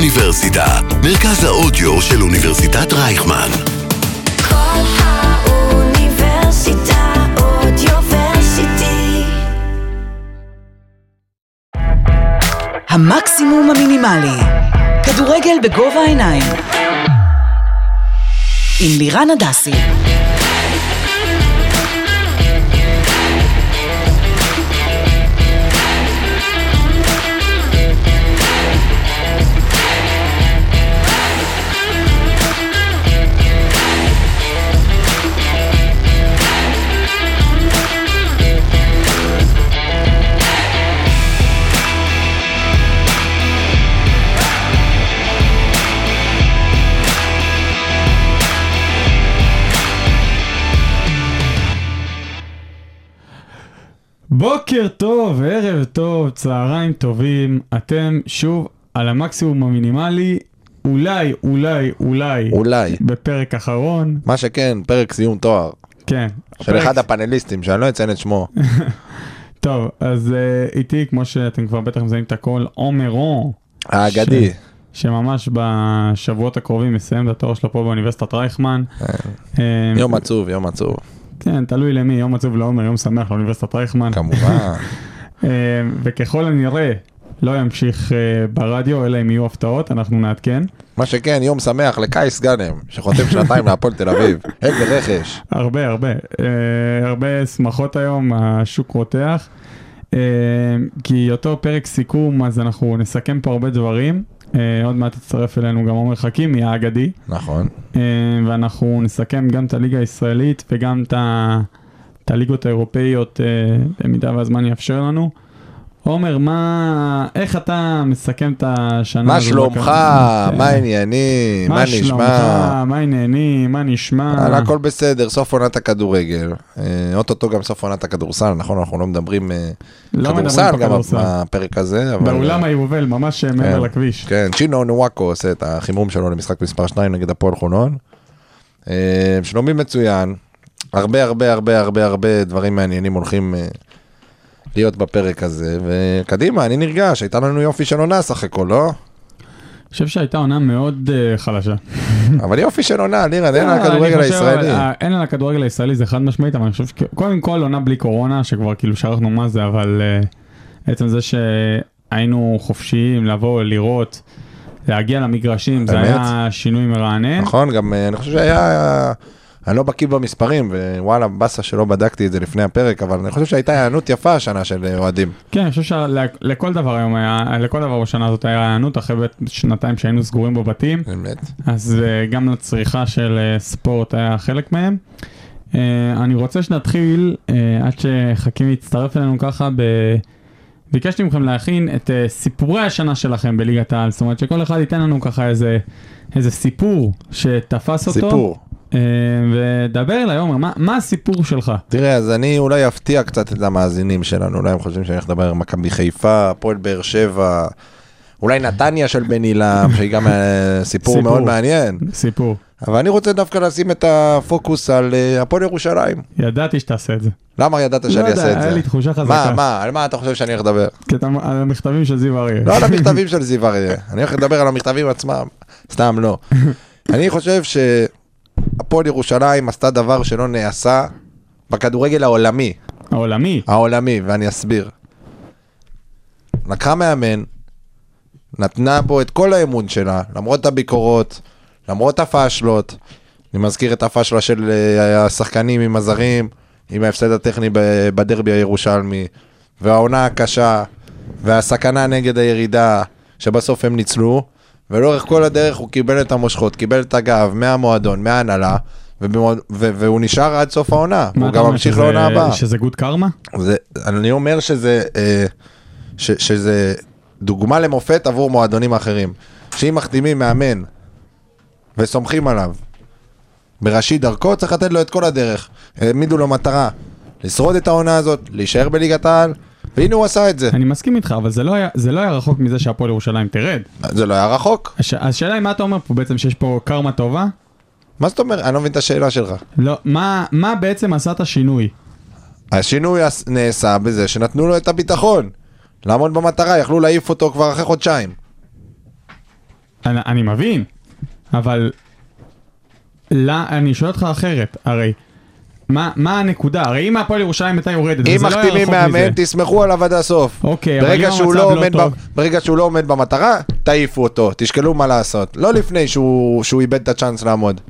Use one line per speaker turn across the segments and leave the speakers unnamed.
האוניברסיטה, מרכז האודיו של אוניברסיטת רייכמן.
כל האוניברסיטה אודיוורסיטי.
המקסימום המינימלי. כדורגל בגובה העיניים. עם לירן הדסי.
בוקר טוב, ערב טוב, צהריים טובים, אתם שוב על המקסימום המינימלי, אולי, אולי, אולי,
אולי.
בפרק אחרון,
מה שכן, פרק סיום תואר
כן.
של
פרק-
אחד הפאנליסטים, שאני לא אציין את שמו.
טוב, אז אה, איתי, כמו שאתם כבר בטח מזהים את הכל, עומר רון,
האגדי.
שממש בשבועות הקרובים מסיים את התואר שלו פה באוניברסיטת רייכמן. אה,
יום עצוב, יום עצוב.
כן, תלוי למי, יום עצוב לעומר, יום שמח לאוניברסיטת רייכמן.
כמובן.
אה, וככל הנראה, לא ימשיך אה, ברדיו, אלא אם יהיו הפתעות, אנחנו נעדכן.
מה שכן, יום שמח לקייס גאנם, שחותם שנתיים להפועל תל אביב. הם ברכש.
הרבה הרבה אה, הרבה שמחות היום השוק רותח אה, כי אותו פרק סיכום אז אנחנו נסכם פה הרבה דברים אה, עוד מעט תצטרף אלינו גם עומר חכימי האגדי
נכון.
אה, ואנחנו נסכם גם את הליגה הישראלית וגם את, ה- את הליגות האירופאיות אה, במידה והזמן יאפשר לנו. עומר מה איך אתה מסכם את השנה
מה
הזו
שלומך?
בכדורגל?
מה
אה,
העניינים? מה נשמע?
שלומך? מה העניינים? מה נשמע?
על הכל בסדר, סוף עונת הכדורגל. אה, אוטוטו גם סוף עונת הכדורסל, נכון? אנחנו לא מדברים אה,
לא מדברים
כדורסל
פה
גם
כדורסל.
בפרק הזה. אבל- אה,
באולם היובל, ממש אה, מעבר
כן.
לכביש.
כן, צ'ינו נוואקו עושה את החימום שלו למשחק מספר 2 נגד הפועל חולון. אה, שלומי מצוין, הרבה הרבה הרבה הרבה הרבה דברים מעניינים הולכים אה, להיות בפרק הזה, וקדימה, אני נרגש, הייתה לנו יופי של עונה סך הכל, לא?
אני חושב שהייתה עונה מאוד אה, חלשה.
אבל יופי של עונה, לירן, אין על
לא, אני
הכדורגל
חושב,
הישראלי.
אבל, אה, אין על הכדורגל הישראלי, זה חד משמעית, אבל אני חושב שקודם כל עונה בלי קורונה, שכבר כאילו שרחנו מה זה, אבל אה, עצם זה שהיינו חופשיים לבוא, לראות, להגיע למגרשים, זה
באמת?
היה שינוי מרענן.
נכון, גם אה, אני חושב שהיה... אני לא בקיא במספרים, ווואלה, באסה שלא בדקתי את זה לפני הפרק, אבל אני חושב שהייתה היענות יפה השנה של אה, אוהדים.
כן, אני חושב שלכל דבר היום היה, לכל דבר בשנה הזאת היה רענות, אחרי בית שנתיים שהיינו סגורים בבתים.
באמת.
אז אה, גם לצריכה של אה, ספורט היה חלק מהם. אה, אני רוצה שנתחיל, אה, עד שחכים יצטרף אלינו ככה, ב... ביקשתי מכם להכין את אה, סיפורי השנה שלכם בליגת העל, זאת אומרת שכל אחד ייתן לנו ככה איזה, איזה סיפור שתפס אותו.
סיפור.
אה, ודבר אליי, עומר, מה, מה הסיפור שלך?
תראה, אז אני אולי אפתיע קצת את המאזינים שלנו, אולי הם חושבים שאני הולך לדבר על מכבי חיפה, הפועל באר שבע, אולי נתניה של בן עילם, שהיא גם אה, סיפור
סיפור.
מאוד מעניין.
סיפור.
אבל אני רוצה דווקא לשים את הפוקוס על אה, הפועל ירושלים.
ידעתי שתעשה את זה.
למה ידעת
לא
שאני
יודע,
אעשה את זה?
היה לי תחושה חזקה.
מה, מה, על מה אתה חושב שאני הולך לדבר?
כי אתה, על המכתבים של זיו אריה.
לא על המכתבים של זיו אריה, אני הולך לדבר על המכתבים עצמם, סתם לא. אני חושב שהפועל ירושלים עשתה דבר שלא נעשה בכדורגל העולמי.
העולמי.
העולמי, ואני אסביר. לקחה מאמן, נתנה בו את כל האמון שלה, למרות הביקורות, למרות הפאשלות. אני מזכיר את הפאשלה של אה, השחקנים עם הזרים, עם ההפסד הטכני ב- בדרבי הירושלמי, והעונה הקשה, והסכנה נגד הירידה, שבסוף הם ניצלו, ולאורך כל הדרך הוא קיבל את המושכות, קיבל את הגב מהמועדון, מההנהלה, ובמועד- ו- והוא נשאר עד סוף העונה,
מה
הוא
אתה
גם
אומר,
ממשיך
שזה-
לעונה הבאה.
שזה גוד קרמה?
זה, אני אומר שזה, אה, ש, שזה דוגמה למופת עבור מועדונים אחרים. שאם מחתימים מאמן וסומכים עליו בראשית דרכו, צריך לתת לו את כל הדרך. העמידו לו מטרה לשרוד את העונה הזאת, להישאר בליגת העל, והנה הוא עשה את זה.
אני מסכים איתך, אבל זה לא היה, זה לא היה רחוק מזה שהפועל ירושלים תרד.
זה לא היה רחוק.
הש, השאלה היא מה אתה אומר פה בעצם, שיש פה קרמה טובה?
מה זאת אומרת? אני לא מבין את השאלה שלך.
לא, מה, מה בעצם עשה את השינוי?
השינוי הס- נעשה בזה שנתנו לו את הביטחון. לעמוד במטרה, יכלו להעיף אותו כבר אחרי חודשיים.
אני, אני מבין, אבל... לא, אני שואל אותך אחרת, הרי... מה, מה הנקודה? הרי אם הפועל ירושלים הייתה יורדת,
אם
וזה לא היה
מחתימים
רחוק מזה.
מאמן, תסמכו עליו עד הסוף.
אוקיי, אבל
ברגע
גם
שהוא
המצב
לא
לא
עומד
טוב.
ב- ברגע שהוא לא עומד במטרה, תעיפו אותו, תשקלו מה לעשות. לא לפני שהוא שהוא איבד את הצ'אנס לעמוד.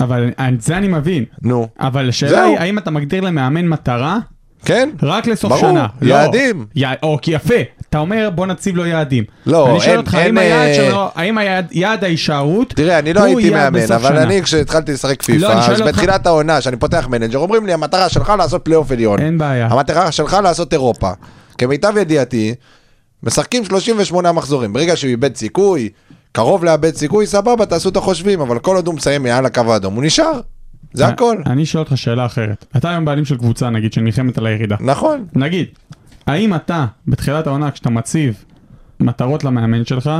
אבל את זה אני מבין.
נו.
אבל השאלה
זהו.
היא, האם אתה מגדיר למאמן מטרה
כן?
רק לסוף
ברור,
שנה? לא.
יעדים.
י... אוקיי, יפה. אתה אומר, בוא נציב לו יעדים.
לא,
אני שואל
אין-
אותך, האם
אין,
היעד
אה,
שלו, האם היעד, יעד ההישארות,
תראה, אני לא
הוא
הייתי
יעד
מאמן,
בסוף
אבל
שנה?
אני כשהתחלתי לשחק
לא, אני
פיפא,
שואל
אז
אותך-
בתחילת העונה, שאני פותח מנג'ר, אומרים לי, המטרה שלך לעשות פלייאוף עליון.
אין בעיה.
המטרה שלך לעשות אירופה. כמיטב ידיעתי, משחקים 38 מחזורים. ברגע שהוא איבד סיכוי, קרוב לאבד סיכוי, סבבה, תעשו את החושבים, אבל כל עוד הוא מסיים מעל הקו האדום, הוא נשאר. זה הכל.
אני שואל אותך שאלה אחרת. אתה היום בעלים של קבוצה, נגיד, שנלחמת על הירידה.
נכון.
נגיד, האם אתה, בתחילת העונה, כשאתה מציב מטרות למאמן שלך,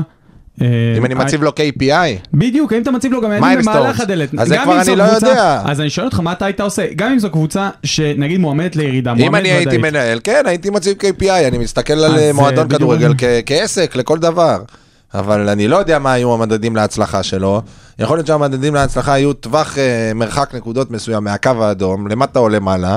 אה,
אם אני מציב לו KPI,
בדיוק, האם אתה מציב לו גם
מה
יעדים
עם
במהלך
סטורס?
הדלת.
אז זה
גם
כבר
אם
אני
זו
לא
קבוצה-
יודע.
אז אני שואל אותך, מה אתה היית עושה? גם אם זו קבוצה שנגיד מועמדת לירידה,
אם
מועמדת
אני הייתי
ודאית.
מנהל, כן, הייתי מציב KPI, אני מסתכל על
אז,
אה,
אה,
מועדון
בדיוק.
כדורגל כ- כעסק לכל דבר. אבל אני לא יודע מה היו המדדים להצלחה שלו. יכול להיות שהמדדים להצלחה היו טווח אה, מרחק נקודות מסוים מהקו האדום, למטה או למעלה.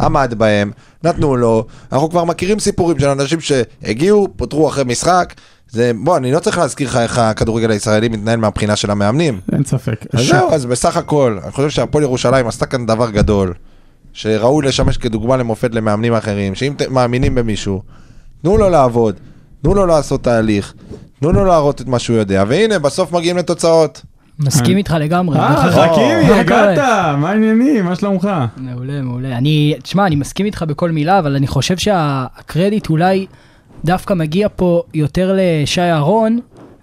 עמד בהם, נתנו לו, אנחנו כבר מכירים סיפורים של אנשים שהגיעו, פוטרו אחרי משחק. זה, בוא, אני לא צריך להזכיר לך איך הכדורגל הישראלי מתנהל מהבחינה של המאמנים.
אין ספק.
אז
ש-
זהו, אז בסך הכל, אני חושב שהפועל ירושלים עשתה כאן דבר גדול, שראוי לשמש כדוגמה למופת למאמנים אחרים, שאם ת- מאמינים במישהו, תנו לו לעבוד, תנו לו לעשות תהליך, תנו לו להראות את מה שהוא יודע, והנה, בסוף מגיעים לתוצאות.
אני-
מסכים איתך לגמרי.
אה,
מה
חכימי,
קורה?
הגעת, מה העניינים, מה שלומך?
מעולה, מעולה. אני, תשמע, אני מסכים איתך בכל מילה, אבל אני חושב שהקרדיט אולי דווקא מגיע פה יותר לשי אהרון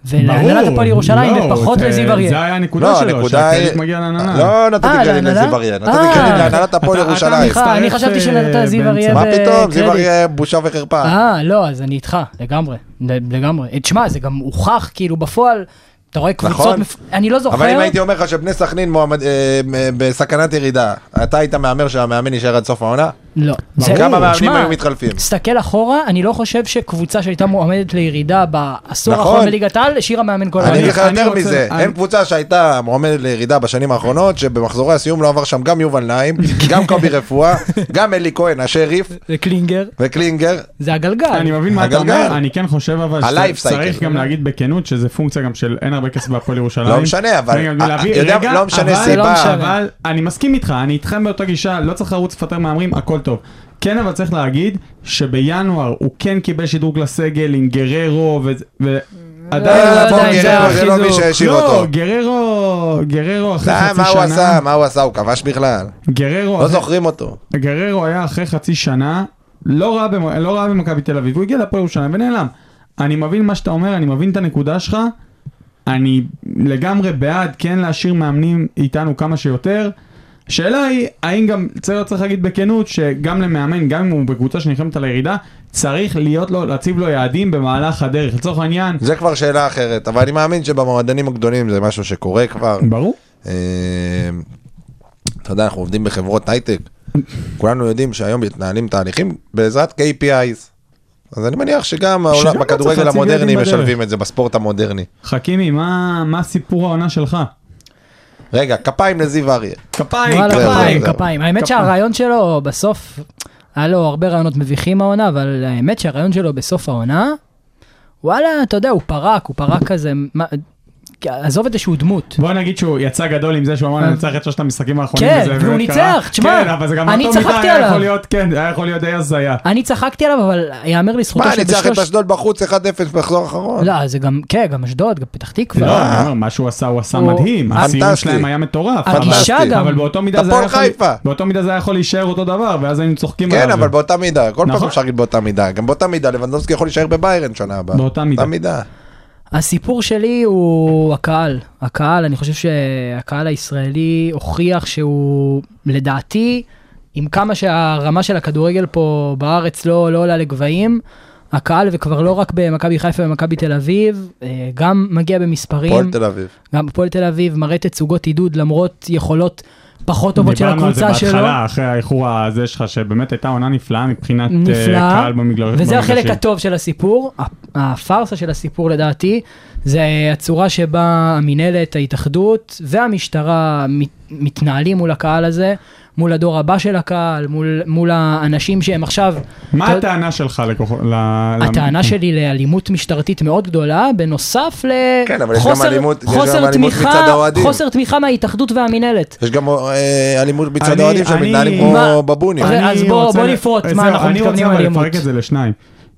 ולהנהלת
ברור,
הפועל ירושלים
לא,
ופחות
זה-
לזיו
זה
אריאל.
היה הנקודה שלו, שהקרדיט מגיע להנהלה.
לא נתתי
אה,
קרדיט
להנהלה?
לזיו אריה, נתתי
אה.
קרדיט להנהלת הפועל
אתה- אתה
ירושלים.
מצטרף,
אני חשבתי
אה,
שנתת זיו
באמצע.
אריה
מה פתאום,
בקרדיט.
זיו אריה בושה וחרפה.
אה, לא, אז אני איתך, לגמרי, ל- לגמרי. אה, תשמע, זה גם הוכח, כאילו, בפועל, אתה רואה קבוצות,
נכון.
מפ- אני לא זוכר.
אבל אם הייתי אומר לך שבני סכנין מועמד- אה, אה, בסכנת ירידה, אתה היית מהמר שהמאמן יישאר עד סוף העונה?
לא. זה-
כמה מאמנים
תשמע,
היו מתחלפים?
תסתכל אחורה, אני לא חושב שקבוצה שהייתה מועמדת לירידה בעשור
נכון.
האחרון בליגת העל, השאירה מאמן כל
אני
העונה.
אגיד לך
אני
יותר
רוצה-
מזה,
אני-
אין קבוצה שהייתה מועמדת לירידה בשנים האחרונות, שבמחזורי הסיום לא עבר שם גם יובל נעים, גם קובי רפואה, גם אלי כהן השריף
זה קלינגר,
וקלינגר.
זה הגלגל.
אני מבין מה אתה
הגלגל.
אומר, אני כן חושב אבל
ה-life
שצריך
cycle.
גם להגיד בכנות שזה פונקציה גם של אין הרבה כסף בהפועל ירושלים.
לא משנה, אבל-
רגע,
אה,
להביא-
יודע,
רגע,
לא משנה
אבל-
סיבה.
לא משנה.
אבל אני מסכים איתך, אני איתכם באותה גישה, לא צריך לרוץ לפטר מהמרים, הכל טוב. כן, אבל צריך להגיד שבינואר הוא כן קיבל שדרוג לסגל עם גררו וזה- ו... עדיין
לא
אה,
יודע
בוא,
אם זה
גררו, זה לא מי
החיזוק.
שהשאיר
לא,
אותו.
גררו, גררו אחרי
אה,
חצי
מה הוא
שנה, אוקיי.
עשה? מה הוא עשה? הוא כבש בכלל.
גררו
לא
אחרי-
זוכרים אותו.
גררו היה אחרי חצי שנה, לא רע, במ... לא רע במכבי תל אביב, הוא הגיע להפועל ירושלים ונעלם. אני מבין מה שאתה אומר, אני מבין את הנקודה שלך, אני לגמרי בעד כן להשאיר מאמנים איתנו כמה שיותר. השאלה היא, האם גם, צריך, צריך להגיד בכנות, שגם למאמן, גם אם הוא בקבוצה שנלחמת על הירידה, צריך להיות לו, להציב לו יעדים במהלך הדרך. לצורך העניין,
זה כבר שאלה אחרת, אבל אני מאמין שבמועדונים הגדולים זה משהו שקורה כבר.
ברור.
אה, אתה יודע, אנחנו עובדים בחברות הייטק. כולנו יודעים שהיום מתנהלים תהליכים בעזרת KPIs. אז אני מניח שגם העולם-
שגם לא צריך
בכדורגל
להציב
המודרני
ילדים בדרך.
משלבים את זה, בספורט המודרני.
חכימי, מה, מה סיפור העונה שלך?
רגע, כפיים לזיו אריה.
כפיים,
וואלה,
זהו,
כפיים,
זהו.
כפיים. האמת
כפיים.
שהרעיון שלו בסוף, היה לו הרבה רעיונות מביכים העונה, אבל האמת שהרעיון שלו בסוף העונה, וואלה, אתה יודע, הוא פרק, הוא פרק כזה, מה- עזוב את זה שהוא דמות.
בוא נגיד שהוא יצא גדול עם זה שהוא אמר אני נצח את שלושת המשחקים האחרונים.
כן,
וזה באמת
והוא
קרה.
ניצח, תשמע,
כן, אבל זה גם
אני
אותו מידה,
צחקתי
היה
עליו. אה.
יכול להיות, כן, היה יכול להיות די הזיה.
אני צחקתי עליו, אבל יאמר לזכותו
מה, ניצח את
שבשלוש...
אשדוד בחוץ 1-0 במחזור האחרון?
לא, זה גם, כן, גם אשדוד, גם פתח תקווה.
לא, אני אומר, מה שהוא עשה, הוא עשה
הוא-
מדהים, הסיום
פנטסטי.
שלהם היה מטורף.
הגישה
אבל-
גם.
אבל באותו מידה זה
הפועל
היה יכול-
חיפה.
באותו מידה זה היה יכול להישאר אותו דבר, ואז היינו צוחקים עליו.
לא,
כן, אבל באותה מידה, כל פעם
נכון.
אפשר להגיד באותה מידה. גם באותה מידה, לבנדובסקי יכול להישאר בביירן שנה הבאה.
באותה מידה.
אותה מידה.
הסיפור שלי הוא הקהל. הקהל, אני חושב שהקהל הישראלי הוכיח שהוא, לדעתי, עם כמה שהרמה של הכדורגל פה בארץ לא, לא עולה לגבהים, הקהל, וכבר לא רק במכבי חיפה ומכבי תל אביב, אה, גם מגיע במספרים,
פועל תל אביב.
גם הפועל תל אביב מראה תצוגות עידוד למרות יכולות פחות טובות של
דיברנו על זה
הקבוצה שלו.
בהתחלה, אחרי האיחור הזה שלך, שבאמת הייתה עונה נפלאה מבחינת אה,
נפלא,
קהל במגלר- במגרשים.
וזה החלק הטוב של הסיפור, ה- הפארסה של הסיפור לדעתי, זה אה, הצורה שבה המינהלת, ההתאחדות והמשטרה מת- מתנהלים מול הקהל הזה, מול הדור הבא של הקהל, מול, מול האנשים שהם עכשיו...
מה
אתה-
הטענה שלך לכוח... ל-
הטענה
למ-
שלי לאלימות משטרתית מאוד גדולה, בנוסף
כן, אבל יש גם אלימות- יש גם
לחוסר
אלימות מצד
תמיכה,
האוהדים.
חוסר תמיכה מההתאחדות והמינהלת.
יש גם אה, אלימות מצד
אני-
האוהדים
אני-
שמתנהלים
מה-
כמו בבונים.
אבל- אוקיי, אז
אני
בוא-
רוצה
בוא
ל-
נפרוט,
אז
מה
זהו,
אנחנו מתכוונים
אני
אלימות.
רוצה אבל לפרק את זה לשניים,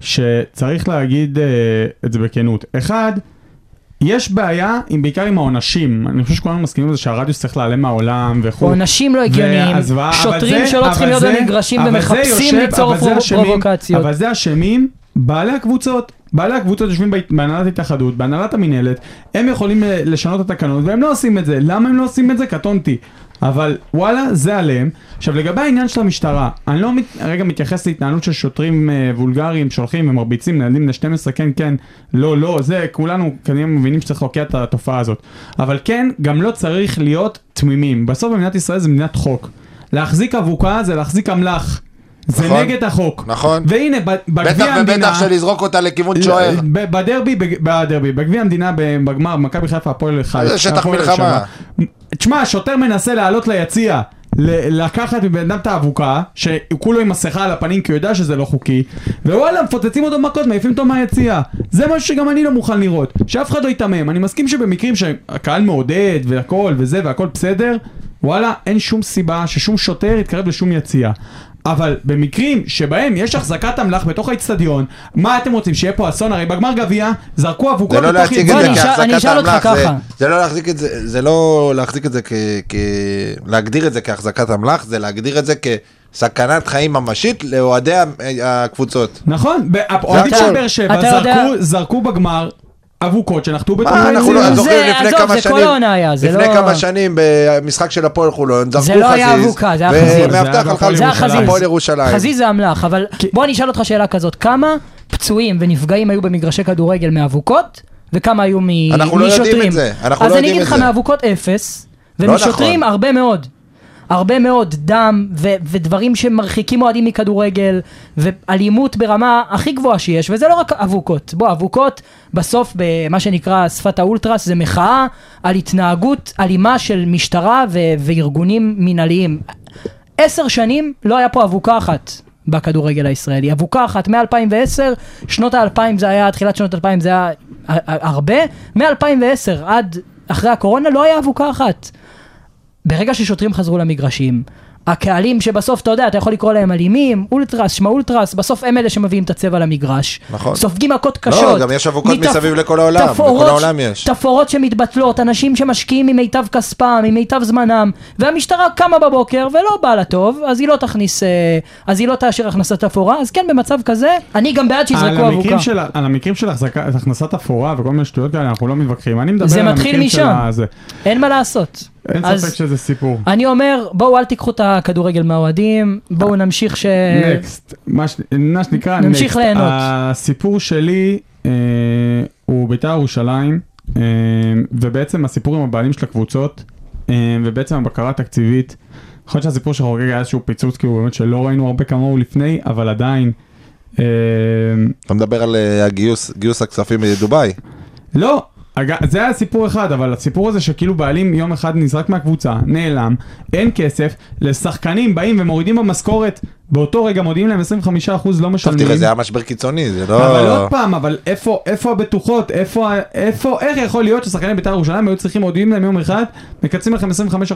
שצריך להגיד אה, את זה בכנות. אחד, יש בעיה עם- בעיקר עם העונשים, אני חושב שכולנו מסכימים לזה שהרדיוס צריך להיעלם מהעולם וכו'.
עונשים לא הגיוניים,
והזוועה, אבל
שוטרים
זה-
שלא צריכים
אבל
להיות
זה-
במגרשים
אבל זה
ומחפשים
יושב-
ליצור
אבל זה
פרו-
אשמים-
פרובוקציות.
אבל זה אשמים בעלי הקבוצות. בעלי הקבוצות יושבים בהת- בהנהלת התאחדות, בהנהלת המינהלת, הם יכולים אה, לשנות את התקנון והם לא עושים את זה. למה הם לא עושים את זה? קטונתי. אבל וואלה, זה עליהם. עכשיו לגבי העניין של המשטרה, אני לא מת, רגע מתייחס להתנהלות של שוטרים אה, וולגריים שהולכים ומרביצים לילדים בני 12, כן, כן, לא, לא, זה, כולנו כנראה מבינים שצריך להוקיע את התופעה הזאת. אבל כן, גם לא צריך להיות תמימים. בסוף במדינת ישראל זה מדינת חוק. להחזיק אבוקה זה להחזיק אמל"ח. זה
נכון.
נגד החוק.
נכון.
והנה, ב-
בטח
בגביע המדינה... לא,
ובטח שלזרוק אותה לכיוון
לא,
שוער.
ב- בדרבי, בג- בדרבי, בגביע המדינה, ב- בגמר, מכבי חיפה, הפועל חיפה.
זה שטח
הפועל
מלחמה.
לשעבר. תשמע, השוטר מנסה לעלות ליציע, ל- לקחת מבן אדם את האבוקה, שכולו עם מסכה על הפנים כי הוא יודע שזה לא חוקי, ווואלה, מפוצצים אותו מכות, מעיפים אותו מהיציע. זה משהו שגם אני לא מוכן לראות, שאף אחד לא ייתמם. אני מסכים שבמקרים שהקהל מעודד והכל וזה והכל בסדר, וואלה, אין שום סיבה ששום שוטר יתקרב לשום יציע. אבל במקרים שבהם יש החזקת אמל"ח בתוך האיצטדיון, מה אתם רוצים, שיהיה פה אסון? הרי בגמר גביע זרקו אבוקות
זה לא
בתוך
להציג את
בוא,
זה
אני אשאל- אני
כהחזקת
אשאל אותך
אמל"ח, זה-
ככה.
זה לא להחזיק את זה, זה לא להחזיק את זה כ... כ- להגדיר את זה כהחזקת אמל"ח, זה להגדיר את זה כסכנת חיים ממשית לאוהדי ה- הקבוצות.
נכון, האוהדים
הכל.
של באר שבע
אתה יודע- אה,
זרקו- זרקו בגמר אבוקות שנחתו בתוך
מה, אנחנו
היציאה.
לא
זה-
זוכרים
עזוב,
לפני
זה
כמה
כל
שנים,
העונה היה, זה
לפני
לא-
כמה שנים במשחק של הפועל חולון, זרקו חזיז,
זה לא היה אבוקה, זה היה חזיז.
זה היה
ומאבטח על
בהפועל
חזיז,
זה היה
ירושלים.
חזיז.
הפועל ירושלים.
חזיז זה אמל"ח, אבל בוא אני אשאל אותך שאלה כזאת, כמה פצועים ונפגעים היו במגרשי כדורגל מאבוקות, וכמה היו מ- משוטרים?
אנחנו לא יודעים את זה, אנחנו
אז
לא
אני
יודעים
אגיד
את
לך
זה.
מאבוקות אפס,
לא
ומשוטרים
נכון.
הרבה מאוד. הרבה מאוד דם ו- ודברים שמרחיקים אוהדים מכדורגל ואלימות ברמה הכי גבוהה שיש וזה לא רק אבוקות. בוא, אבוקות בסוף במה שנקרא שפת האולטרס זה מחאה על התנהגות אלימה של משטרה ו- וארגונים מינהליים. עשר שנים לא היה פה אבוקה אחת בכדורגל הישראלי. אבוקה אחת מ-2010, שנות ה-2000 זה היה, תחילת שנות ה-2000 זה היה אה, אה, הרבה, מ-2010 עד אחרי הקורונה לא היה אבוקה אחת. ברגע ששוטרים חזרו למגרשים, הקהלים שבסוף, אתה יודע, אתה יכול לקרוא להם אלימים, אולטרס, שמע אולטרס, בסוף הם אלה שמביאים את הצבע למגרש.
נכון.
סופגים מכות קשות.
גם יש אבוקות
מתפ-
מסביב לכל העולם,
תפאורות-
בכל העולם יש.
תפאורות שמתבטלות, אנשים שמשקיעים ממיטב כספם, ממיטב זמנם, והמשטרה קמה בבוקר ולא בא לה טוב, אז היא לא תכניס, אה, אז היא לא תאשר הכנסת תפאורה, אז כן, במצב כזה, אני גם בעד שיזרקו
על המקרים
אבוקה.
של, ה- על המקרים של החזקה- הכנסת אפורה וכל מיני שטויות כאלה, אנחנו לא מתווכחים. אני מדבר
זה
על
מתחיל
המקרים של
משם.
הזה.
אין מה לעשות.
אין
אז-
ספק שזה סיפור.
אני אומר, בואו אל תיקחו את הכדורגל מהאוהדים, בואו נמשיך ש...
נקסט, מה ש- מה שנקרא נקסט.
נמשיך ליהנות.
הסיפור שלי אה, הוא בית"ר ירושלים, אה, ובעצם הסיפור עם הבעלים של הקבוצות, אה, ובעצם הבקרה התקציבית. יכול להיות שהסיפור של חוגג היה איזשהו פיצוץ, כאילו באמת שלא ראינו הרבה כמוהו לפני, אבל עדיין. אה,
אתה מדבר על אה, הגיוס גיוס הכספים מדובאי.
לא, אג- זה היה סיפור אחד, אבל הסיפור הזה שכאילו בעלים יום אחד נזרק מהקבוצה, נעלם, אין כסף, לשחקנים באים ומורידים במשכורת, באותו רגע מודיעים להם 25% לא
טוב
משלמים.
תראה זה היה משבר קיצוני, זה
אבל
לא...
עוד פעם, אבל איפה, איפה הבטוחות? איפה, ה- איפה, איך יכול להיות ששחקני בית"ר ירושלים היו צריכים מודיעים להם יום אחד, מקצים לכם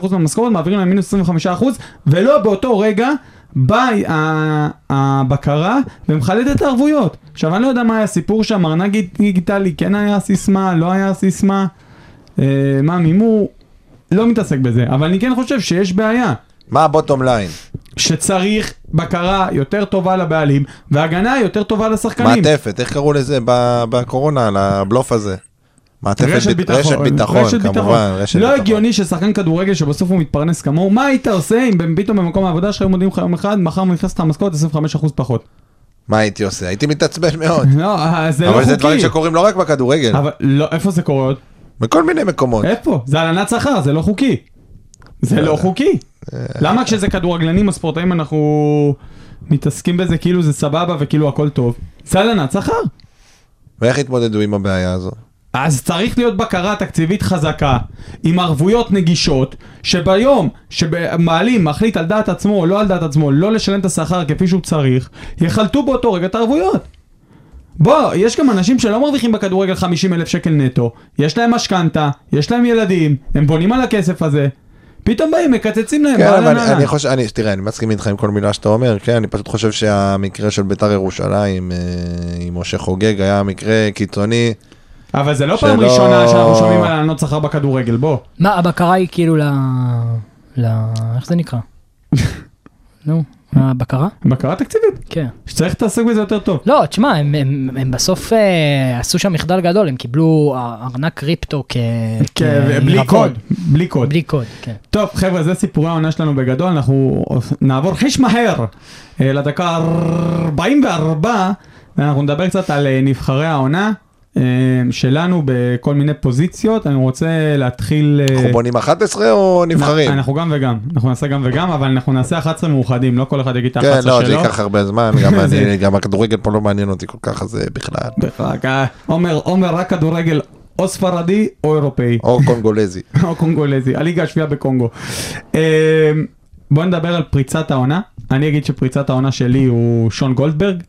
25% מהמשכורת, מעבירים להם מינוס 25%, ולא באותו רגע באה ה- הבקרה ומחלטת את הערבויות. עכשיו, אני לא יודע מה היה הסיפור שם, ארנק דיגיטלי, כן היה סיסמה, לא היה סיסמה, אה, מה מימו, לא מתעסק בזה, אבל אני כן חושב שיש בעיה.
מה הבוטום ליין?
שצריך בקרה יותר טובה לבעלים והגנה יותר טובה לשחקנים.
מעטפת, איך קראו לזה ב- בקורונה, לבלוף הזה? מעטפת
רשת
ביט-
ביטחון,
רשת ביטחון, כמובן, רשת
לא
ביטחון.
הגיוני ששחקן כדורגל שבסוף הוא מתפרנס כמוהו, מה היית עושה אם פתאום במקום העבודה שלך היו מודיעים לך יום אחד, מחר נכנס לך משכורת 25% פחות.
מה הייתי עושה? הייתי מתעצבן מאוד.
לא, אה, זה לא חוקי.
אבל זה דברים שקורים לא רק בכדורגל,
אבל לא, איפה זה קורה עוד?
אה?
בכל מיני מקומות. אה,
איפה? זה הלנת שכר, זה לא חוקי. זה לא חוקי. למה כשזה כדורגלנים הספורטאים אנחנו מתעסקים בזה כאילו זה סבבה וכאילו הכל טוב? סלנה, שכר.
ואיך התמודדו עם הבעיה הזו?
אז צריך להיות בקרה תקציבית חזקה, עם ערבויות נגישות, שביום שמעלים מחליט על דעת עצמו או לא על דעת עצמו לא לשלם את השכר כפי שהוא צריך, יחלטו באותו רגע את הערבויות. בוא, יש גם אנשים שלא מרוויחים בכדורגל 50 אלף שקל נטו, יש להם משכנתה, יש להם ילדים, הם בונים על הכסף הזה, פתאום באים, מקצצים להם,
כן, אבל
אהלן,
אני-
אהלן.
אני חושב, אני- תראה, אני מסכים איתך עם כל מילה שאתה אומר, כן, אני פשוט חושב שהמקרה של ביתר ירושלים אה, עם משה חוגג היה מקרה קיצוני.
אבל זה לא
שלא-
פעם ראשונה שאנחנו שומעים על העלנות שכר בכדורגל, בוא.
מה, הבקרה היא כאילו ל... ל... איך זה נקרא? נו, הבקרה?
בקרה תקציבית,
כן.
שצריך להתעסק בזה יותר טוב.
לא, תשמע, הם, הם, הם בסוף אה, עשו שם מחדל גדול, הם קיבלו אה, ארנק קריפטו כ...
כן, בלי
כעירבון.
קוד, בלי קוד.
בלי קוד, כן.
טוב חבר'ה זה סיפורי העונה שלנו בגדול אנחנו נעבור חיש מהר אה, לדקה 44 ואנחנו נדבר קצת על אה, נבחרי העונה אה, שלנו בכל מיני פוזיציות אני רוצה להתחיל אה,
אנחנו בונים 11 או נבחרים?
אנחנו גם וגם אנחנו נעשה גם וגם אבל אנחנו נעשה 11 מאוחדים לא כל אחד יגיד את
כן, לא,
ה-11
זה
שלו.
ייקח הרבה זמן, גם
זה-
אני- גם הכדורגל פה לא מעניין אותי כל כך, אז אה, בכלל.
רק, אה, עומר עומר רק כדורגל או ספרדי או אירופאי.
או קונגולזי.
או קונגולזי, הליגה השביעה בקונגו. אמ, בוא נדבר על פריצת העונה. אני אגיד שפריצת העונה שלי הוא שון גולדברג.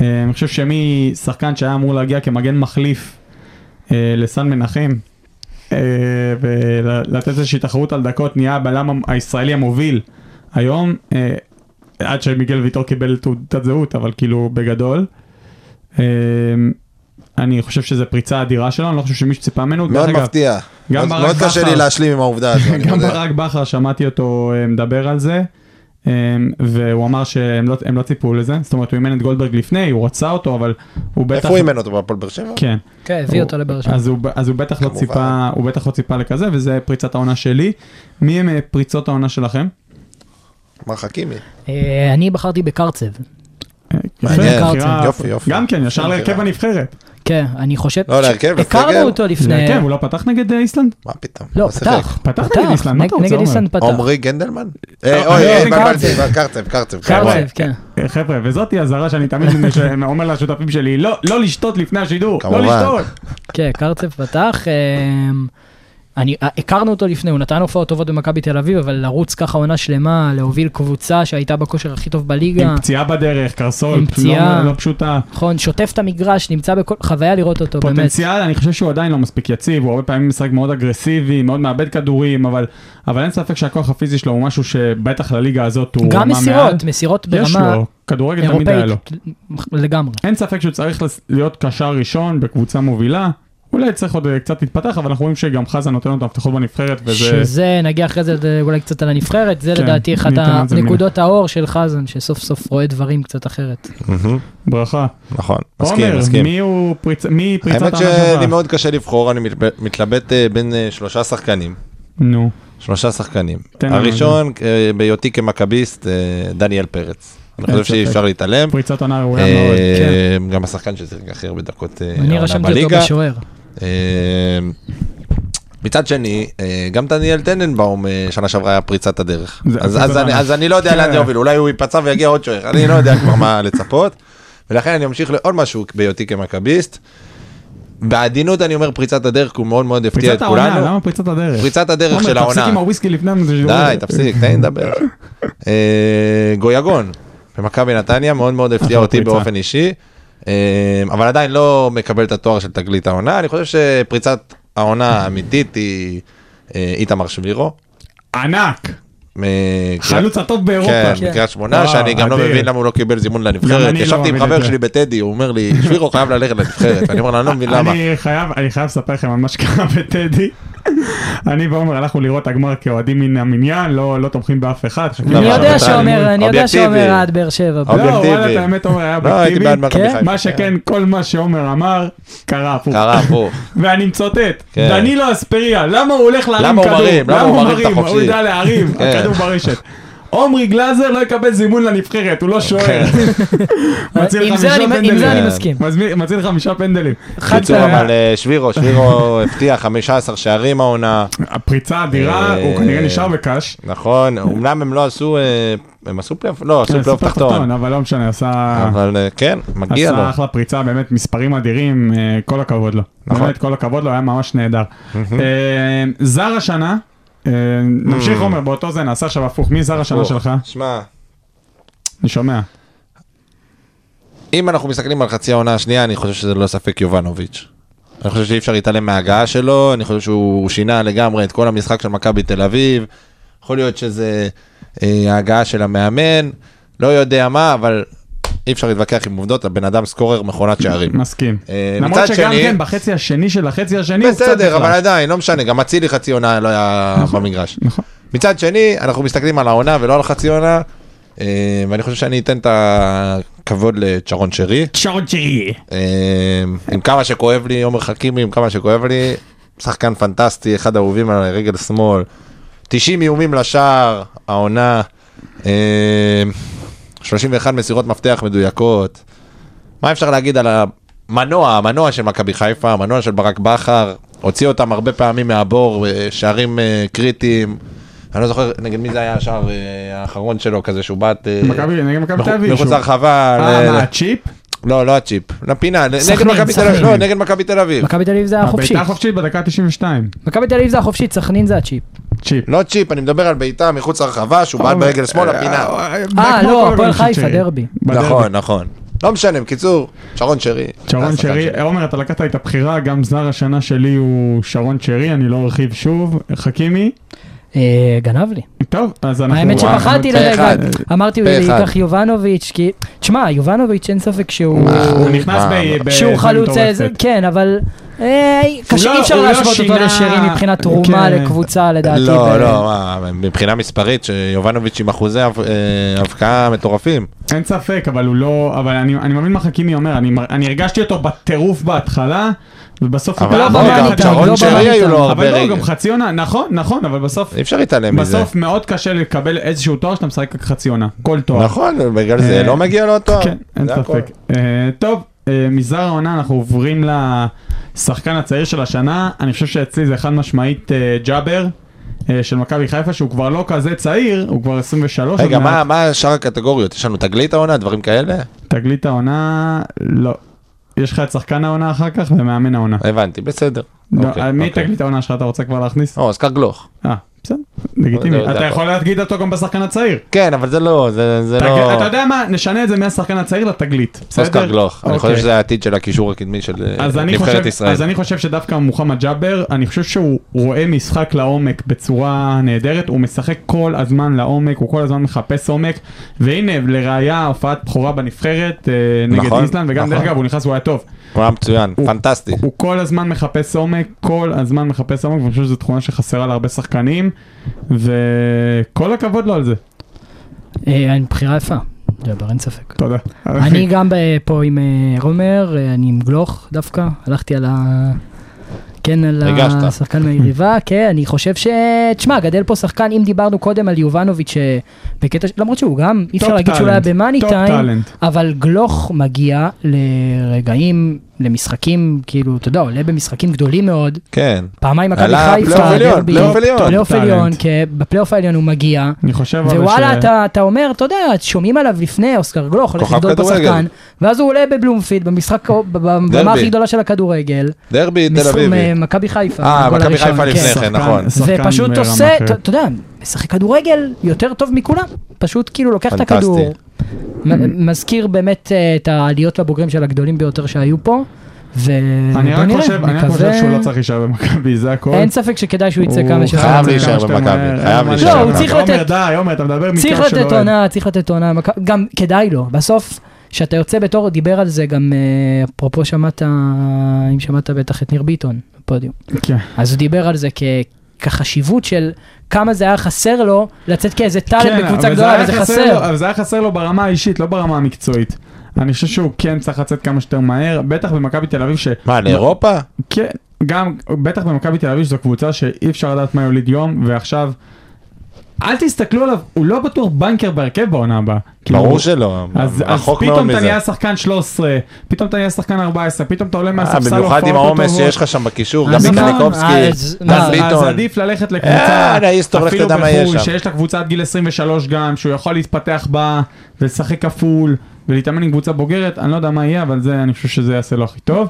אמ, אני חושב שמשחקן שהיה אמור להגיע כמגן מחליף אה, לסן מנחם, אה, ולתת איזושהי תחרות על דקות, נהיה הבלם הישראלי המוביל היום, אה, עד שמיגל ויטור קיבל תעודת זהות, אבל כאילו בגדול. אמ, אני חושב שזו פריצה אדירה שלו, אני לא חושב שמישהו ציפה ממנו. דרך
מאוד
אגב,
מפתיע.
גם
מאוד-
ברק
מאוד קשה
בכר.
לי להשלים עם העובדה הזו. אני לא
גם
מודה.
ברק בכר, שמעתי אותו אה, מדבר על זה, אה, והוא אמר שהם לא, הם לא ציפו לזה, זאת אומרת הוא אימן את גולדברג לפני, הוא רצה אותו, אבל הוא בטח...
איפה הוא אימן אותו? בהפועל באר שבע?
כן.
כן, הביא אותו לבאר שבע.
אז הוא, ב- אז הוא בטח לא
כמובן.
ציפה, הוא בטח לא ציפה לכזה, וזה פריצת העונה שלי. מי הם אה, פריצות העונה שלכם? אה, כן.
מה חכימי?
אה, אני בחרתי בקרצב.
אה,
מעניין.
יפה, בחירה-
יופי, יופי.
גם כן, ישר
בחירה.
להרכב הנבחרת.
כן, אני חושב...
לא, להרכב,
הכרנו
לסגל.
אותו
זה
לפני...
הרכב, הוא לא פתח נגד אה, איסלנד?
מה פתאום?
לא,
הוא שיחק.
פתח.
פתח נגד איסלנד, מה אתה רוצה,
נגד
עומר?
איסלנד פתח.
עמרי גנדלמן? אה,
לא,
אוי, אה,
קרצב.
התבלבלתי, קרצב, קרצב, כמובן.
קרצב, כן.
אה, חבר'ה, וזאת היא אזהרה שאני תמיד מש- אומר לשותפים שלי, לא לא לשתות לפני השידור, לא
כמובן.
לשתות.
כן, קרצב פתח. אמ, אני, אה, הכרנו אותו לפני, הוא נתן הופעות טובות במכבי תל אביב, אבל לרוץ ככה עונה שלמה, להוביל קבוצה שהייתה בכושר הכי טוב בליגה,
עם פציעה בדרך, קרסול,
עם
לא-
פציעה.
לא פשוטה.
נכון, שוטף את המגרש, נמצא בכל... חוויה לראות אותו, באמת.
פוטנציאל, אני חושב שהוא עדיין לא מספיק יציב, הוא הרבה פעמים משחק מאוד אגרסיבי, מאוד מאבד כדורים, אבל, אבל אין ספק שהכוח הפיזי שלו הוא משהו שבטח לליגה הזאת הוא...
גם
רמה מעל.
מסירות, מסירות
יש
ברמה
לו, כדורגל תמיד היה לו.
אירופאית לגמרי.
אין ספק שהוא צריך לס- להיות קשר ראשון בקבוצה מובילה. אולי צריך עוד אה, קצת להתפתח, אבל אנחנו רואים שגם חזן נותן לו את המפתחות בנבחרת, וזה...
שזה, נגיע אחרי זה אה, אולי קצת על הנבחרת, זה
כן,
לדעתי אחת
ניתן על זה
הנקודות האור של חזן, שסוף סוף רואה דברים קצת אחרת.
מהמם.
ברכה.
נכון, מסכים,
עומר,
מסכים.
מי הוא פריצ- מי פריצת
האמת
העונה
שאני
שלך?
מאוד קשה לבחור, אני מתלבט- מתלבט אה, בין אה, שלושה שחקנים.
נו,
שלושה שחקנים.
תן לנו
הראשון, אה, בהיותי כמכביסט, אה, דניאל פרץ. אני
אין
חושב שאי
ספק.
אפשר להתעלם.
פריצת עונה ראויה מאוד.
אה,
כן.
גם השחקן ששיחק הכי הרבה דקות אה,
אני
העונה
רשמתי אותו
בליגה.
בשוער.
אה, מצד שני, אה, גם דניאל טננבאום אה, שנה שעברה היה פריצת הדרך.
זה-
אז-
זה
אז
ברמה.
אני- אז אני לא יודע
כן.
לאן זה יוביל, אולי הוא ייפצע ויגיע עוד שוער, אני לא יודע כבר מה לצפות. ולכן אני אמשיך לעוד משהו בהיותי כמכביסט. בעדינות אני אומר פריצת הדרך, כי הוא מאוד מאוד הפתיע את
פריצת העונה, לא?
כולנו.
למה פריצת הדרך?
פריצת הדרך של
עומר, תפסיק
העונה.
עם הוויסקי לפני זה.
די, תפסיק, תן לי לדבר. אה, גויגון, במכבי נתניה, מאוד מאוד הפתיע
אחלה
אותי
פריצה.
באופן אישי, אה, אבל עדיין לא מקבל את התואר של תגלית העונה, אני חושב שפריצת העונה האמיתית היא אה, איתמר שבירו.
ענק!
מ-
חלוץ הטוב באירופה.
כן, מקריית שמונה,
וואו,
שאני גם לא
אדיר.
מבין למה הוא לא קיבל זימון
גם
לנבחרת.
אני לא
ישבתי עם
מבין את
חבר
זה.
שלי בטדי, הוא אומר לי, שבירו חייב ללכת לנבחרת, ואני אומר לו, אני לא מבין למה.
אני חייב, אני חייב לספר לכם על מה שקרה בטדי. אני ועומר הלכנו לראות את הגמר כאוהדים מן המניין, לא לא תומכים באף אחד. חכים.
אני
למה?
יודע
אתה
שאומר,
אלימות.
אני יודע
אובייקטיבי. אוקיי.
שאומר עד באר שבע.
לא,
אובייקטיבי.
וואלה, את האמת עומר היה
לא, הייתי בעד
אובייקטיבי.
מכבי
כן?
חיפה.
מה שכן, כל מה שעומר אמר, קרה הפוך.
קרה הפוך.
ואני מצטט,
כן.
דנילו אספריה, למה הוא הולך להרים
למה הוא
כדור?
מרים? למה הוא מרים את
הוא
החופשי?
יודע להרים,
כן.
הכדור ברשת. עומרי גלאזר לא יקבל זימון לנבחרת, הוא לא שוער.
כן.
מציל
עם זה
חמישה
אני- עם
פנדלים.
זה אני מסכים.
מזמין- מציל חמישה פנדלים.
חד
קיצור,
פעמי.
אבל אה, שבירו, שבירו הבטיח 15 שערים העונה,
הפריצה אדירה,
אה,
הוא כנראה נשאר בקאש.
נכון? אמנם הם לא עשו, אה, הם עשו פלייאוף, לא, עשו
כן,
פלייאוף
סופר
תחתון,
אבל לא משנה, עשה...
אבל אה, כן, מגיע לו.
עשה אחלה פריצה, באמת מספרים אדירים, אה, כל הכבוד לו.
נכון.
באמת, כל הכבוד לו, היה ממש נהדר. אה, זר השנה, אה, נמשיך עומר, באותו זה נעשה עכשיו הפוך, מי זר השנה
Hmm. או,
שלך?
שמע,
אני שומע.
אם אנחנו מסתכלים על חצי העונה השנייה, אני חושב שזה ללא ספק יובנוביץ'. אני חושב שאי אפשר להתעלם מההגעה שלו, אני חושב שהוא שינה לגמרי את כל המשחק של מכבי תל אביב. יכול להיות שזה אה, ההגעה של המאמן, לא יודע מה, אבל אי אפשר להתווכח עם עובדות, הבן אדם סקורר מכונת שערים.
מסכים.
אה,
למרות
מצד
שגם
שני-
כן, בחצי השני של החצי השני הוא קצת
בסדר, אבל
נחלש.
עדיין, לא משנה, גם אצילי חצי עונה לא היה במגרש.
נכון.
מצד שני, אנחנו מסתכלים על העונה ולא על חצי עונה, אה, ואני חושב שאני אתן את הכבוד לצ'רון שרי.
צ'ארון צ'י.
אה, עם כמה שכואב לי, עומר חכימי, עם כמה שכואב לי, שחקן פנטסטי, אחד האהובים על רגל שמאל. 90 איומים לשער, העונה, אה, 31 מסירות מפתח מדויקות. מה אפשר להגיד על המנוע, המנוע של מכבי חיפה, המנוע של ברק בכר, הוציא אותם הרבה פעמים מהבור, אה, שערים אה, קריטיים. אני לא זוכר נגד מי זה היה השער אה, האחרון שלו, כזה שהוא בעט... אה,
מכבי- נגד מכבי
מחוץ-
תל אביב,
מחוץ
שהוא-
לרחבה.
אה,
ל-
מה, הצ'יפ?
לא, לא הצ'יפ, לפינה, נגד
סכנין,
מכבי תל אביב,
סכנין.
לא, נגד מכבי תל אביב.
מכבי תל אביב זה החופשי.
הבעיטה חופשית בדקה ה-92.
מכבי תל אביב זה החופשית, סכנין זה הצ'יפ.
צ'יפ.
לא צ'יפ, אני מדבר על בעיטה מחוץ לרחבה, שהוא בעט
אוקיי.
ברגל שמאל לפינה.
אה,
כמו
לא,
כל
הפועל
הגולים של
חיפה,
צ'רי.
דרבי.
בדרבי.
נכון, נכון. לא משנה, בקיצור, שרון שרי.
שרון
השחקן
שרי, אה,
שלי.
עומר אתה לקחת את הבחירה, גם זר השנה שלי הוא שרון שרי, אני לא ארחיב שוב, חכימי.
אה, גנב לי.
טוב, אז אנחנו...
האמת
וואו,
שפחדתי
פה
לרגע,
אחד.
אמרתי הוא
פה אחד.
ייקח יובנוביץ', כי... תשמע, יובנוביץ' אין ספק שהוא...
הוא נכנס
מה,
ב- ב...
שהוא חלוץ,
מטורפת.
איזה- כן, אבל... אה, קשה,
לא-
אי אפשר
הוא לא
להשוות אותו
שינה-
לשרי מבחינת תרומה
כן.
לקבוצה, לדעתי. ו-
לא, לא, מה, מבחינה מספרית, שיובנוביץ' עם אחוזי אב- אה, הבקעה מטורפים.
אין ספק, אבל הוא לא... אבל אני אני מבין מה חכימי אומר, אני מר- אני הרגשתי אותו בטירוף בהתחלה, ובסוף... הוא
אבל
לא
נכון,
ברח
במה
גם
אחד
ניתן,
שלו.
שרון
לא
שרי
במה
היו לו
ניתן.
הרבה
אבל לא, גם
רגל.
חצי עונה, נכון, נכון, אבל בסוף...
אי אפשר להתעלם מזה.
בסוף מאוד קשה לקבל איזשהו תואר שאתה משחק רק חצי עונה, כל תואר.
נכון, בגלל זה
לא. אה,
לא מגיע לו אותו.
כן, אין
זה הכל.
ספק. אה, טוב, אה, מזר העונה אנחנו עוברים לשחקן הצעיר של השנה, אני חושב שאצלי זה חד משמעית אה, ג'אבר. אה, של מכבי חיפה שהוא כבר לא כזה צעיר, הוא כבר 23.
רגע,
עוד מעט.
מה- מה שאר הקטגוריות? יש לנו תגלית העונה, דברים כאלה?
תגלית העונה, לא. יש לך את שחקן העונה אחר כך ומאמן העונה.
הבנתי, בסדר.
לא,
אוקיי,
מי
אוקיי.
תגלית העונה שלך אתה רוצה כבר להכניס?
או, אוסקר גלוך.
אה, בסדר, לגיטימי.
לא, זה
אתה
הכל.
יכול להגיד אותו גם בשחקן הצעיר.
כן, אבל זה לא, זה זה
תג-
לא...
אתה יודע מה, נשנה את זה מהשחקן הצעיר לתגלית. בסדר?
אוסקר גלוך, אני
אוקיי.
חושב שזה העתיד של הקישור הקדמי של אה,
אז אני,
נבחרת
חושב,
ישראל.
אז אני חושב שדווקא מוחמד ג'אבר, אני חושב שהוא רואה משחק לעומק בצורה נהדרת, הוא משחק כל הזמן לעומק, הוא כל הזמן מחפש עומק, והנה לראיה הופעת בכורה בנבחרת אה, נגד
נכון,
איסלנד, וגם
נכון.
דרך אגב הוא נכנס, הוא היה טוב.
הוא היה מצוין,
הוא-
פנטסטי.
הוא כל הזמן מחפש עומק, כל הזמן מחפש עומק, ואני חושב שזו תכונה שחסרה להרבה שחקנים, וכל הכבוד לו על זה.
אה, אין בחירה יפה, ג'אבר, אין ספק.
תודה.
אוקיי.
אני גם ב- פה עם אה, רומר, אה, אני עם גלוך דווקא, הלכתי על ה... כן, על
הרגשת.
השחקן מהיריבה, כן, אני חושב ש... תשמע, גדל פה שחקן, אם דיברנו קודם על יובנוביץ', אה, בקטע, ש- למרות שהוא גם, אי אפשר
טופ
להגיד שהוא לא היה
טאלנט,
במאני
טופ
טיים,
טאלנט.
אבל גלוך מגיע לרגעים, למשחקים, כאילו, אתה יודע, עולה במשחקים גדולים מאוד,
כן.
פעמיים מכבי
עלה פלייאוף
חיפה,
עליון,
דרבי,
פלייאוף עליון.
פלייאוף
טאלנט.
עליון, כן, בפלייאוף העליון הוא מגיע,
אני חושב אבל ש...
ווואלה, אתה, אתה אומר, אתה יודע, שומעים עליו לפני, אוסקר גלוך, הולך
כוכב
לגדול פה
כדורגל.
שחקן, ואז הוא עולה בבלומפילד, במשחק, ב- ב- במה הכי גדולה של הכדורגל,
דרבי תל
מס-
אביבי.
מכבי חיפה,
אה,
הגול
מכבי
הראשון,
חיפה
כן.
לפני כן, נכון.
שחקן
ופשוט
ברמה
עושה,
אחרת.
אתה אתה יודע, משחק כדורגל יותר טוב מכולם, פשוט כאילו לוקח את
פנטסטי.
הכדור, מ- מזכיר באמת אה, את העליות והבוגרים של הגדולים ביותר שהיו פה, ובוא
אני רק
נראה,
חושב, אני רק חושב
נקווה-
שהוא לא צריך להישאר במכבי, זה הכל.
אין ספק שכדאי שהוא יצא
הוא
כמה שיותר.
חייב
מהר.
להישאר
כמה שיותר
במכבי,
מהר,
חייב
אין מה
להישאר
לשאול.
במכבי. לא, הוא צריך
עומר,
לתת-
די, עומר, אתה מדבר מכאב של
צריך
אוהד.
לתת עונה, צריך לתת עונה, מכ- גם כדאי לו, בסוף כשאתה יוצא בתור, דיבר על זה גם, אה, אפרופו שמעת, אם שמעת בטח את ניר ביטון בפודיום,
כן.
אז הוא דיבר על זה כ... כחשיבות של כמה זה היה חסר לו לצאת כאיזה
כן,
טאלנט בקבוצה
אבל זה
גדולה,
היה
וזה
לו-
חסר.
אבל זה היה חסר לו ברמה האישית, לא ברמה המקצועית. אני חושב שהוא כן צריך לצאת כמה שיותר מהר, בטח במכבי תל אביב ש...
מה, לאירופה?
כן, גם, בטח במכבי תל אביב שזו קבוצה שאי אפשר לדעת מה יוליד יום, ועכשיו אל תסתכלו עליו, הוא לא בטוח בנקר בהרכב בעונה הבאה.
ברור
כאילו,
שלא,
אז, אז
רחוק מאוד
פתאום אתה
מזה.
נהיה שחקן 13, פתאום אתה נהיה שחקן 14, פתאום אתה עולה
אה,
מהספסל
במיוחד עם
הופעות לא
העומס
טובות.
שיש לך שם בקישור,
אה,
גם
נכון,
בקניקובסקי,
אה, אז-
דן
אה,
אז, אז
ביטון.
עדיף ללכת
אה,
לקבוצה,
נאיס, טוב, לך
אפילו
תדע מה יהיה
בחו"ל,
שם.
שיש לה קבוצה עד גיל 23 גם, שהוא יכול להתפתח בה ולשחק כפול ולהתאמן עם קבוצה בוגרת, אני לא יודע מה יהיה, אבל זה, אני חושב שזה יעשה לו הכי טוב.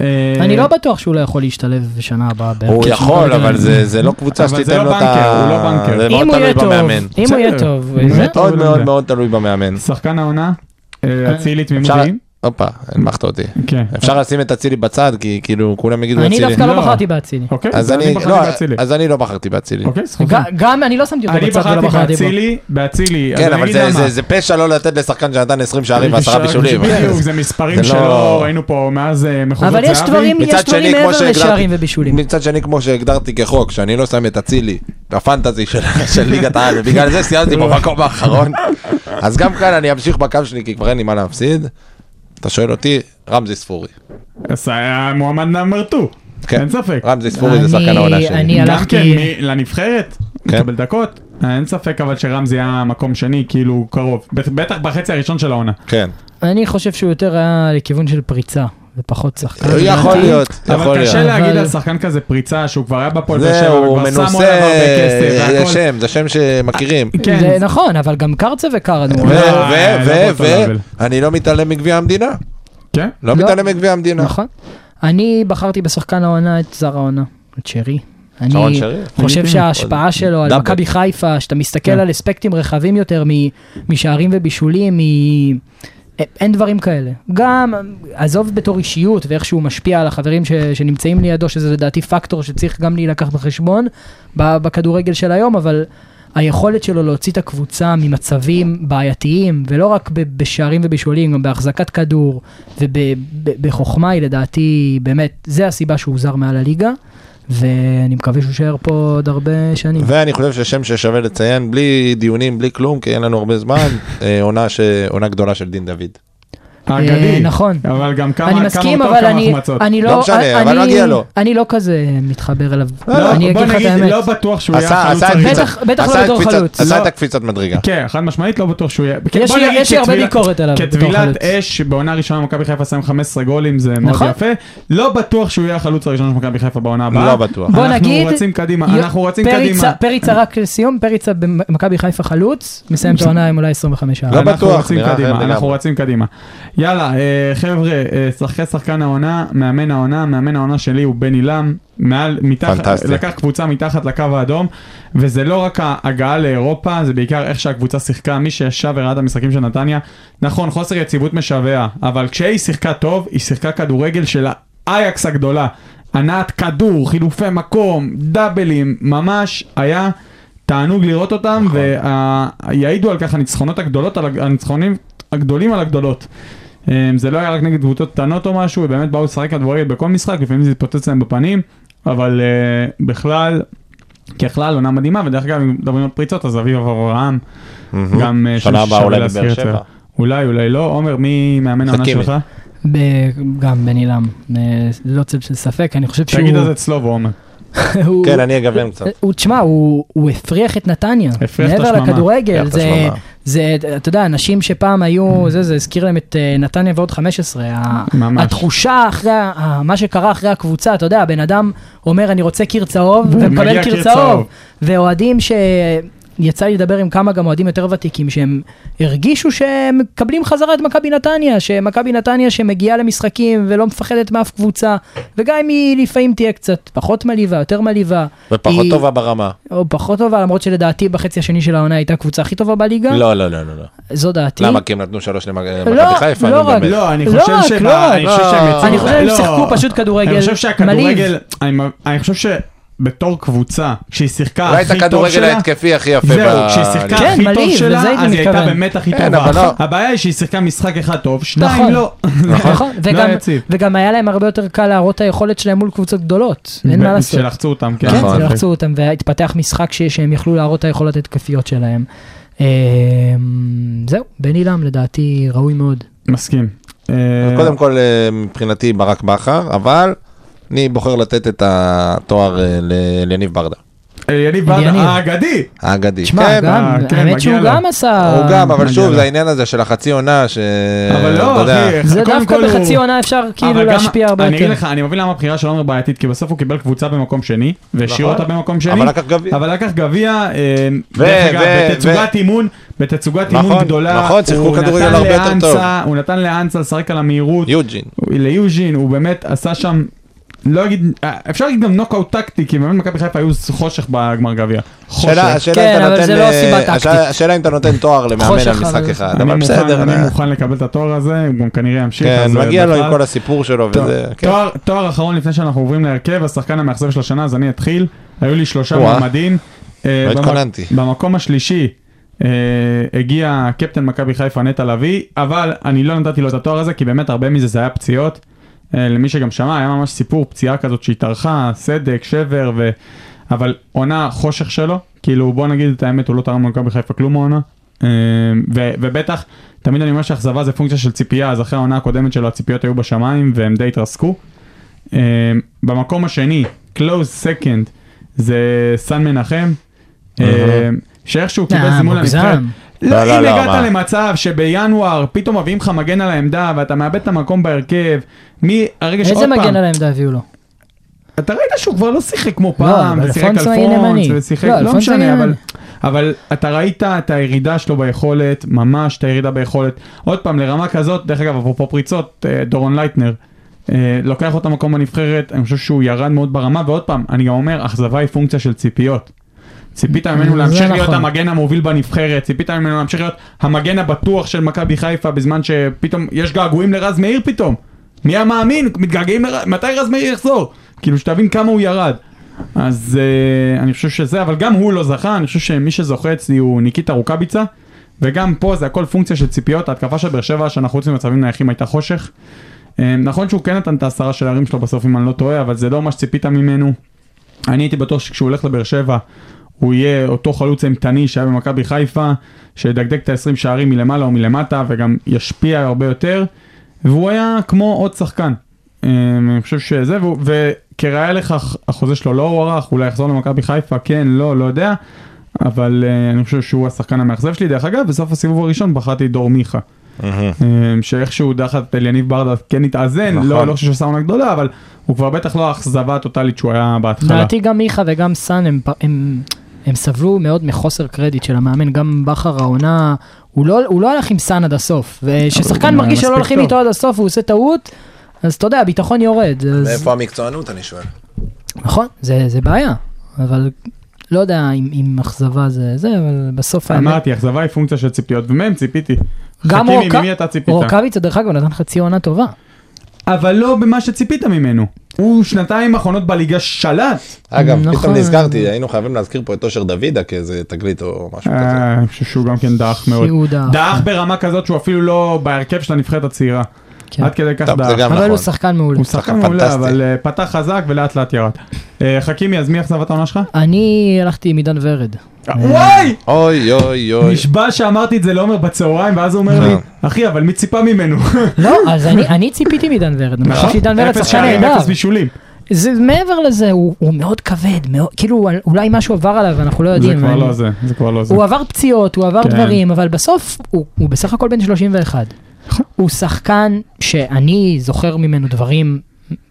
אה,
אני לא בטוח שהוא לא יכול להשתלב בשנה הבאה. בהרכב
הוא
של
יכול,
מכבי תל
אבל
אביב.
זה זה לא קבוצה
אבל זה
שתיתן
לא
לו את
בנקר,
ה...
הוא לא בנקר.
זה
אם
מאוד
אה,
תלוי
אם הוא יהיה טוב,
במאמן.
אם הוא יהיה
בסדר.
טוב,
הוא
זה-
יהיה טוב.
מאוד
אבל
מאוד
זה.
מאוד תלוי במאמן.
שחקן העונה, אה, אצילי
אפשר...
תמימותי.
הופה, הנמכת אותי.
כן.
אפשר לשים את אצילי בצד, כי כאילו כולם יגידו
אני
אצילי.
דווקא לא
לא.
בחרתי באצילי.
אוקיי,
אז אני
בחרתי
לא,
באצילי.
אז אני לא בחרתי באצילי.
אוקיי, זכותך.
ג- גם אני לא שמתי אותו
אני
בצד ולא
בחרתי
בחרתי בו.
באצילי, באצילי. אז
כן,
אני
אבל
אגיד
זה-
למה.
זה- זה פשע לא לתת לשחקן שנתן 20 שערים ועשרה בישולים.
בדיוק, זה מספרים
זה לא-
שלא ראינו פה מאז אה, מחוזות
אבל
זהבי.
יש דברים, יש
מצד שני,
דברים
כמו
מעבר לשערים
שהגדרתי,
ובישולים.
מצד שני, כמו שהגדרתי כחוק, שאני לא שם את אצילי בפנטזי של של ליגת העל, ובגלל זה סיימתי במקום האחרון. אז גם כאן אני אמשיך בקו שלי, כי כבר אין לי מה להפסיד. אתה שואל אותי, רמזי ספורי.
אז היה מועמד נאמר 2.
כן.
אין ספק.
רמזי ספורי זה
אני-
שחקן העונה
אני-
שלי.
גם
הלכתי-
כן מ- לנבחרת,
כן.
מקבל דקות. אה, אין ספק אבל שרמזי היה מקום שני, כאילו קרוב. בט- בטח בחצי הראשון של העונה.
כן.
אני חושב שהוא יותר היה לכיוון של פריצה, ופחות שחקן.
יכול
לדעתי.
להיות, יכול
אבל
להיות.
קשה להגיד
אבל-
על שחקן כזה פריצה, שהוא כבר היה בפועל באר שבע,
זהו, הוא
וכבר שמו עליו
מנוסה, אה,
הרבה כסף.
זה
והכל.
שם, זה שם שמכירים.
כן,
זה נכון, אבל גם קרצה וקרנו.
ו,
אה,
ו,
לא
ו,
באותו
ו,
level.
אני לא מתעלם מגביע המדינה.
כן.
לא
לא.
מתעלם מגביע המדינה.
נכון. אני בחרתי בשחקן העונה את זר העונה, את שרי.
שרון
אני
שרי?
חושב
לגיטימי.
שההשפעה שלו על
דאבל.
מכבי חיפה, שאתה מסתכל
כן.
על אספקטים רחבים יותר מ- משערים ובישולים, מ... א- אין דברים כאלה. גם, עזוב בתור אישיות ואיך שהוא משפיע על החברים ש, שנמצאים לידו, שזה לדעתי פקטור שצריך גם להילקח בחשבון ב- בכדורגל של היום, אבל היכולת שלו להוציא את הקבוצה ממצבים בעייתיים, ולא רק ב- בשערים ובישולים, גם בהחזקת כדור ובחוכמה היא לדעתי, באמת, זה הסיבה שהוא זר מעל הליגה, ואני מקווה שהוא יישאר פה עוד הרבה שנים.
ואני חושב ששם ששווה לציין, בלי דיונים, בלי כלום, כי אין לנו הרבה זמן, אה, עונה ש- עונה גדולה של דין דוד.
האגדי.
אה, נכון.
אבל גם כמה
אני
כמה
מסכים,
אותו,
אבל
כמה
אני,
החמצות.
אני לא,
לא משנה, אבל
אני-
מגיע לו.
אני לא כזה מתחבר אליו,
לא, לא,
אני
בוא
אגיד לך את
נגיד,
האמת.
לא בטוח שהוא יהיה
עשה-
החלוץ
עשה
הראשון.
קפיצת-
בטח- בטח לא
עשה
בתור
קפיצת-
חלוץ.
עשה
לא.
את הקפיצת מדרגה.
כן, חד משמעית לא בטוח שהוא יהיה.
יש
בוא
לי-
נגיד
יש לי הרבה
כטבילת-
ביקורת עליו בתור חלוץ.
כטבילת אש בעונה ראשונה מכבי חיפה שם 15 גולים זה מאוד
נכון.
יפה. לא בטוח שהוא יהיה החלוץ הראשון של מכבי חיפה בעונה הבאה.
לא בטוח.
בוא
אנחנו
נגיד,
רצים קדימה,
יו-
אנחנו רצים
פריצה-
קדימה.
פריצה רק לסיום, פריצה במכבי חיפה חלוץ, מסיים את העונה עם אולי 25 שעה.
לא
אנחנו
בטוח,
רצים
נראה אחרת
קדימה, אנחנו
לגמרי.
רצים קדימה. יאללה, אה, חבר'ה, אה, שחקי שחקן העונה, מאמן העונה, מאמן העונה שלי הוא בן עילם, מעל, מתחת,
פנטסטי.
לקח קבוצה מתחת לקו האדום, וזה לא רק ההגעה לאירופה, זה בעיקר איך שהקבוצה שיחקה, מי שישב וראה את המשחקים של נתניה, נכון, חוסר יציבות משווע, אבל כשהיא שיחקה טוב, היא שיחקה כדורגל של האייקס הגדולה. הנעת כדור, חילופי מקום, דאבלים, ממש היה תענוג לראות אותם,
נכון.
ויעידו על כך הניצחונות הגדולות, על הג- הניצחונים הגדולים על הגדולות. אה, זה לא היה רק נגד קבוצות קטנות או משהו, באמת באו לשחק כדורגל בכל משחק, לפעמים זה התפוצץ להם בפנים, אבל אה, בכלל, ככלל עונה מדהימה, ודרך אגב, אם מדברים על פריצות, אז אביב אברהם, גם אה,
שנה
שם
הבאה
ששווה
אולי
להזכיר
בבאר
את זה.
שבע.
אולי, אולי לא. עומר, מי מאמן העונה
חכימי.
שלך?
ב- גם בן עילם, אה, לא צל של ספק, אני חושב שהוא...
תגיד על זה אצלו ועומר.
הוא-
כן, אני אגוון קצת.
אה, הוא, תשמע, הוא, הוא הפריח את נתניה.
הפריח את
מעבר
השממה.
לכדורגל,
הפריח את
זה,
השממה.
זה, אתה יודע, אנשים שפעם היו, זה, זה הזכיר להם את אה, נתניה ועוד 15. ה-
ממש.
התחושה אחרי, ה- ה- מה שקרה אחרי הקבוצה, אתה יודע, בן אדם אומר, אני רוצה קיר צהוב,
ומגיע
ומקבל
קיר
קיר
צהוב.
צהוב. ואוהדים ש... יצא לי לדבר עם כמה גם אוהדים יותר ותיקים שהם הרגישו שהם מקבלים חזרה את מכבי נתניה, שמכבי נתניה שמגיעה למשחקים ולא מפחדת מאף קבוצה, וגם אם היא לפעמים תהיה קצת פחות מלאיבה, יותר מלאיבה.
ופחות
היא-
טובה ברמה.
או פחות טובה, למרות שלדעתי בחצי השני של העונה הייתה הקבוצה הכי טובה בליגה.
לא, לא, לא, לא. לא.
זו דעתי.
למה? כי הם נתנו שלוש למכבי
לא,
חיפה,
לא
נו
רק,
באמת.
לא, אני
לא
חושב
רק,
שהם...
לא רק.
אני חושב שהם יצאו...
אני חושב שהם
לא.
שיחקו פשוט כדורגל
אני חושב
מלהיב.
שהכדורגל... אני- אני חושב שבתור קבוצה, כשהיא שיחקה
אולי את
הכי טוב
הכדורגל
שלה...
ההתקפי הכי יפה.
זהו,
ב-
כשהיא שיחקה
כן,
הכי טוב
מלהיב,
שלה,
לזה
אז
הייתי
היא הייתה
מתכוון.
באמת הכי
כן,
טובה.
אבל לא-
הבעיה היא שהיא שיחקה משחק אחד טוב,
נכון.
שתיים לא.
נכון, וגם-
יציב.
וגם היה להם הרבה יותר קל להראות את היכולת שלהם מול קבוצות גדולות, אין מה לעשות.
שלחצו אותם, כן.
כן,
נכון.
שלחצו אותם והתפתח משחק ש- שהם יכלו להראות את היכולות ההתקפיות שלהם. אמ, זהו, בן עילם לדעתי ראוי מאוד.
מסכים. אה,
אז קודם כל, אה, מבחינתי ברק בכר, אבל אני בוחר לתת את התואר אה, ל- ליניב ברדה.
יניב ברדה
יניב.
האגדי.
האגדי.
תשמע,
כן,
גם,
אה, כן,
האמת
מגיע
שהוא
לו.
גם עשה...
הוא גם, אבל
מגיע
שוב,
לו.
זה העניין הזה של החצי עונה, ש...
אבל
אתה
לא,
יודע,
אחי.
זה
קודם
דווקא
כל הוא-
בחצי עונה אפשר
אבל
כאילו
גם-
להשפיע הרבה
אני אגיד
יותר.
לך, אני מבין למה הבחירה של עומר בעייתית, כי בסוף הוא קיבל קבוצה במקום שני, והשאיר
נכון.
אותה במקום שני,
אבל לקח גביע.
אבל לקח גביע, אה,
ו-
דרך אגב,
ו-
בתצוגת אימון, בתצוגת אימון
נכון,
גדולה,
נכון, שיחקו
הוא
כדורגל
נתן
הרבה יותר
לאנסה-
טוב.
הוא נתן לאנסה לשחק על המהירות,
יוג'ין.
הוא- ליוז'ין, הוא באמת עשה שם, לא אגיד, אה, אפשר להגיד גם נוקאוט טקטי, כי באמת מכבי חיפה היו חושך בגמר גביע,
השאלה-
חושך.
השאלה
כן,
אם אתה
אבל
נותן,
זה לא
אה,
הסיבה הטקטית.
השאלה- השאלה אם אתה נותן תואר למאמן
חושך
על משחק
על-
אחד,
אני
אבל
מוכן-
בסדר.
אני
אה,
מוכן לקבל את התואר הזה, הוא גם כנראה ימשיך.
כן,
אז, אה,
מגיע לו
בכלל.
עם כל הסיפור שלו
טוב,
וזה, כן.
תואר- תואר אחרון לפני שאנחנו עוברים להרכב, השחקן המאכזב של השנה, אז אני אתחיל. היו לי שלושה
וואה.
מועמדים. אה,
לא
במק-
התכוננתי.
במקום השלישי אה, הגיע קפטן מכבי חיפה נטע לביא, אבל אני לא נתתי לו את התואר הזה, כי באמת הרבה מזה זה היה פציעות. אה, למי שגם שמע, היה ממש סיפור פציעה כזאת שהתארכה, סדק, שבר, ו... אבל עונה חושך שלו, כאילו בוא נגיד את האמת, הוא לא תרם למכבי חיפה כלום העונה. אה, ו- ובטח, תמיד אני אומר שאכזבה זה פונקציה של ציפייה, אז אחרי העונה הקודמת שלו הציפיות היו בשמיים והם די התרסקו. אה, במקום השני, close second, זה סן מנחם, אה,
אהה.
שאיכשהו
אה,
קיבל זימון
מוגזם.
לנבחרת. לא,
לא,
אם
לא,
הגעת
מה?
למצב שבינואר פתאום מביאים לך מגן על העמדה ואתה מאבד את המקום בהרכב, מהרגע שעוד
איזה
פעם,
מגן על העמדה הביאו לו?
אתה ראית שהוא כבר לא שיחק כמו
לא,
פעם,
אבל
ושיחק
אלפונסו היה
אלפונס,
ימני.
ושיחק,
לא,
לא
אלפונסו היה
משנה, אבל...
ימני.
אבל אתה ראית את הירידה שלו ביכולת, ממש את הירידה ביכולת. עוד פעם, לרמה כזאת, דרך אגב, אפרופו פריצות, אה, דורון לייטנר, אה, לוקח אותה מקום בנבחרת, אני חושב שהוא ירד מאוד ברמה, ועוד פעם, אני גם אומר, אכזבה היא פונקציה של ציפיות. ציפית ממנו
זה
להמשיך להיות
נכון.
המגן המוביל בנבחרת, ציפית ממנו להמשיך להיות המגן הבטוח של מכבי חיפה, בזמן שפתאום יש געגועים לרז מאיר פתאום. מי היה מאמין? מתגעגעים לרז, מתי רז מאיר יחזור? כאילו שתבין כמה הוא ירד. אז uh, אני חושב שזה, אבל גם הוא לא זכה, אני חושב שמי שזוכה אצלי הוא ניקיטה רוקאביצה, וגם פה זה הכל פונקציה של ציפיות, ההתקפה של באר שבע שאנחנו חוץ ממצבים נייחים הייתה חושך. Um, נכון שהוא כן נתן את העשרה של הערים שלו בסוף אם אני לא טועה, אבל זה לא מה שציפית ממנו. אני הייתי בטוח שכשהוא הולך לבאר שבע, הוא יהיה אותו חלוץ אימתני שהיה במכבי חיפה, שידגדג את ה-20 שערים מלמעלה או מלמטה, וגם ישפיע הרבה יותר, והוא היה כמו עוד שחקן. אה, אני חושב שזה, והוא- וכראיה לכך, החוזה שלו לא הוארך, אולי יחזור למכבי חיפה, כן, לא, לא יודע, אבל אה, אני חושב שהוא השחקן המאכזב שלי. דרך אגב, בסוף הסיבוב הראשון בחרתי את דור מיכה. אמ, שאיכשהו דחת אל יניב ברדה כן התאזן,
נכון.
לא לא חושב שהוא עונה גדולה, אבל הוא כבר בטח לא האכזבה הטוטאלית שהוא היה בהתחלה.
לדעתי גם מיכה וגם סאן הם, פ- הם, הם סבלו מאוד מחוסר קרדיט של המאמן, גם בכר העונה, הוא לא, הוא לא הלך עם סאן עד הסוף,
אבל
וכששחקן
הוא
מרגיש שלא
מספיק
הולכים
טוב.
איתו עד הסוף והוא עושה טעות, אז אתה יודע, הביטחון יורד, אז,
מאיפה המקצוענות, אני שואל.
נכון, זה, זה בעיה, אבל לא יודע אם, אם אכזבה זה זה, אבל בסוף האמת,
אמרתי, אכזבה היא פונקציה של ציפיות, ומהם ציפיתי.
גם
חכימי,
רוקא-
ממי אתה ציפית?
רוקאביצה דרך אגב נתן חצי עונה טובה,
אבל לא במה שציפית ממנו. הוא שנתיים האחרונות בליגה שלט.
אגב,
נכון.
פתאום נזכרתי, היינו חייבים להזכיר פה את אושר דוידה כאיזה תגלית או משהו כזה.
אה, אני חושב שהוא גם כן דעך מאוד.
שהוא דעך.
דעך ברמה כזאת שהוא אפילו לא בהרכב של הנבחרת הצעירה.
כן.
עד כדי כך
טוב, זה
דעך.
גם
אבל
נכון.
הוא שחקן מעולה.
הוא שחקן
שחקן
מעולה,
פנטסטי.
אבל אה, פתח חזק ולאט לאט ירד. אה, חכימי, אז מי אכזבת העונה שלך?
אני הלכתי עם עידן ורד.
אה,
אה,
וואי!
אוי אוי אוי. אה.
נשבע שאמרתי את זה לעומר בצהריים, ואז הוא אומר לי, אחי, אבל מי ציפה ממנו?
לא, אז אני, אני ציפיתי מעידן ורד, אני חושב שעידן
נכון.
ורד
אפס
שחקן
שערים,
נהדר.
אפס בישולים.
זה מעבר לזה, הוא, הוא מאוד כבד, מאוד, כאילו אולי משהו עבר עליו, אנחנו לא
זה
יודעים.
כבר
אני-
לא זה, זה כבר לא זה.
הוא עבר פציעות, הוא עבר
כן.
דברים, אבל בסוף הוא, הוא בסך הכל בן 31. הוא שחקן שאני זוכר ממנו דברים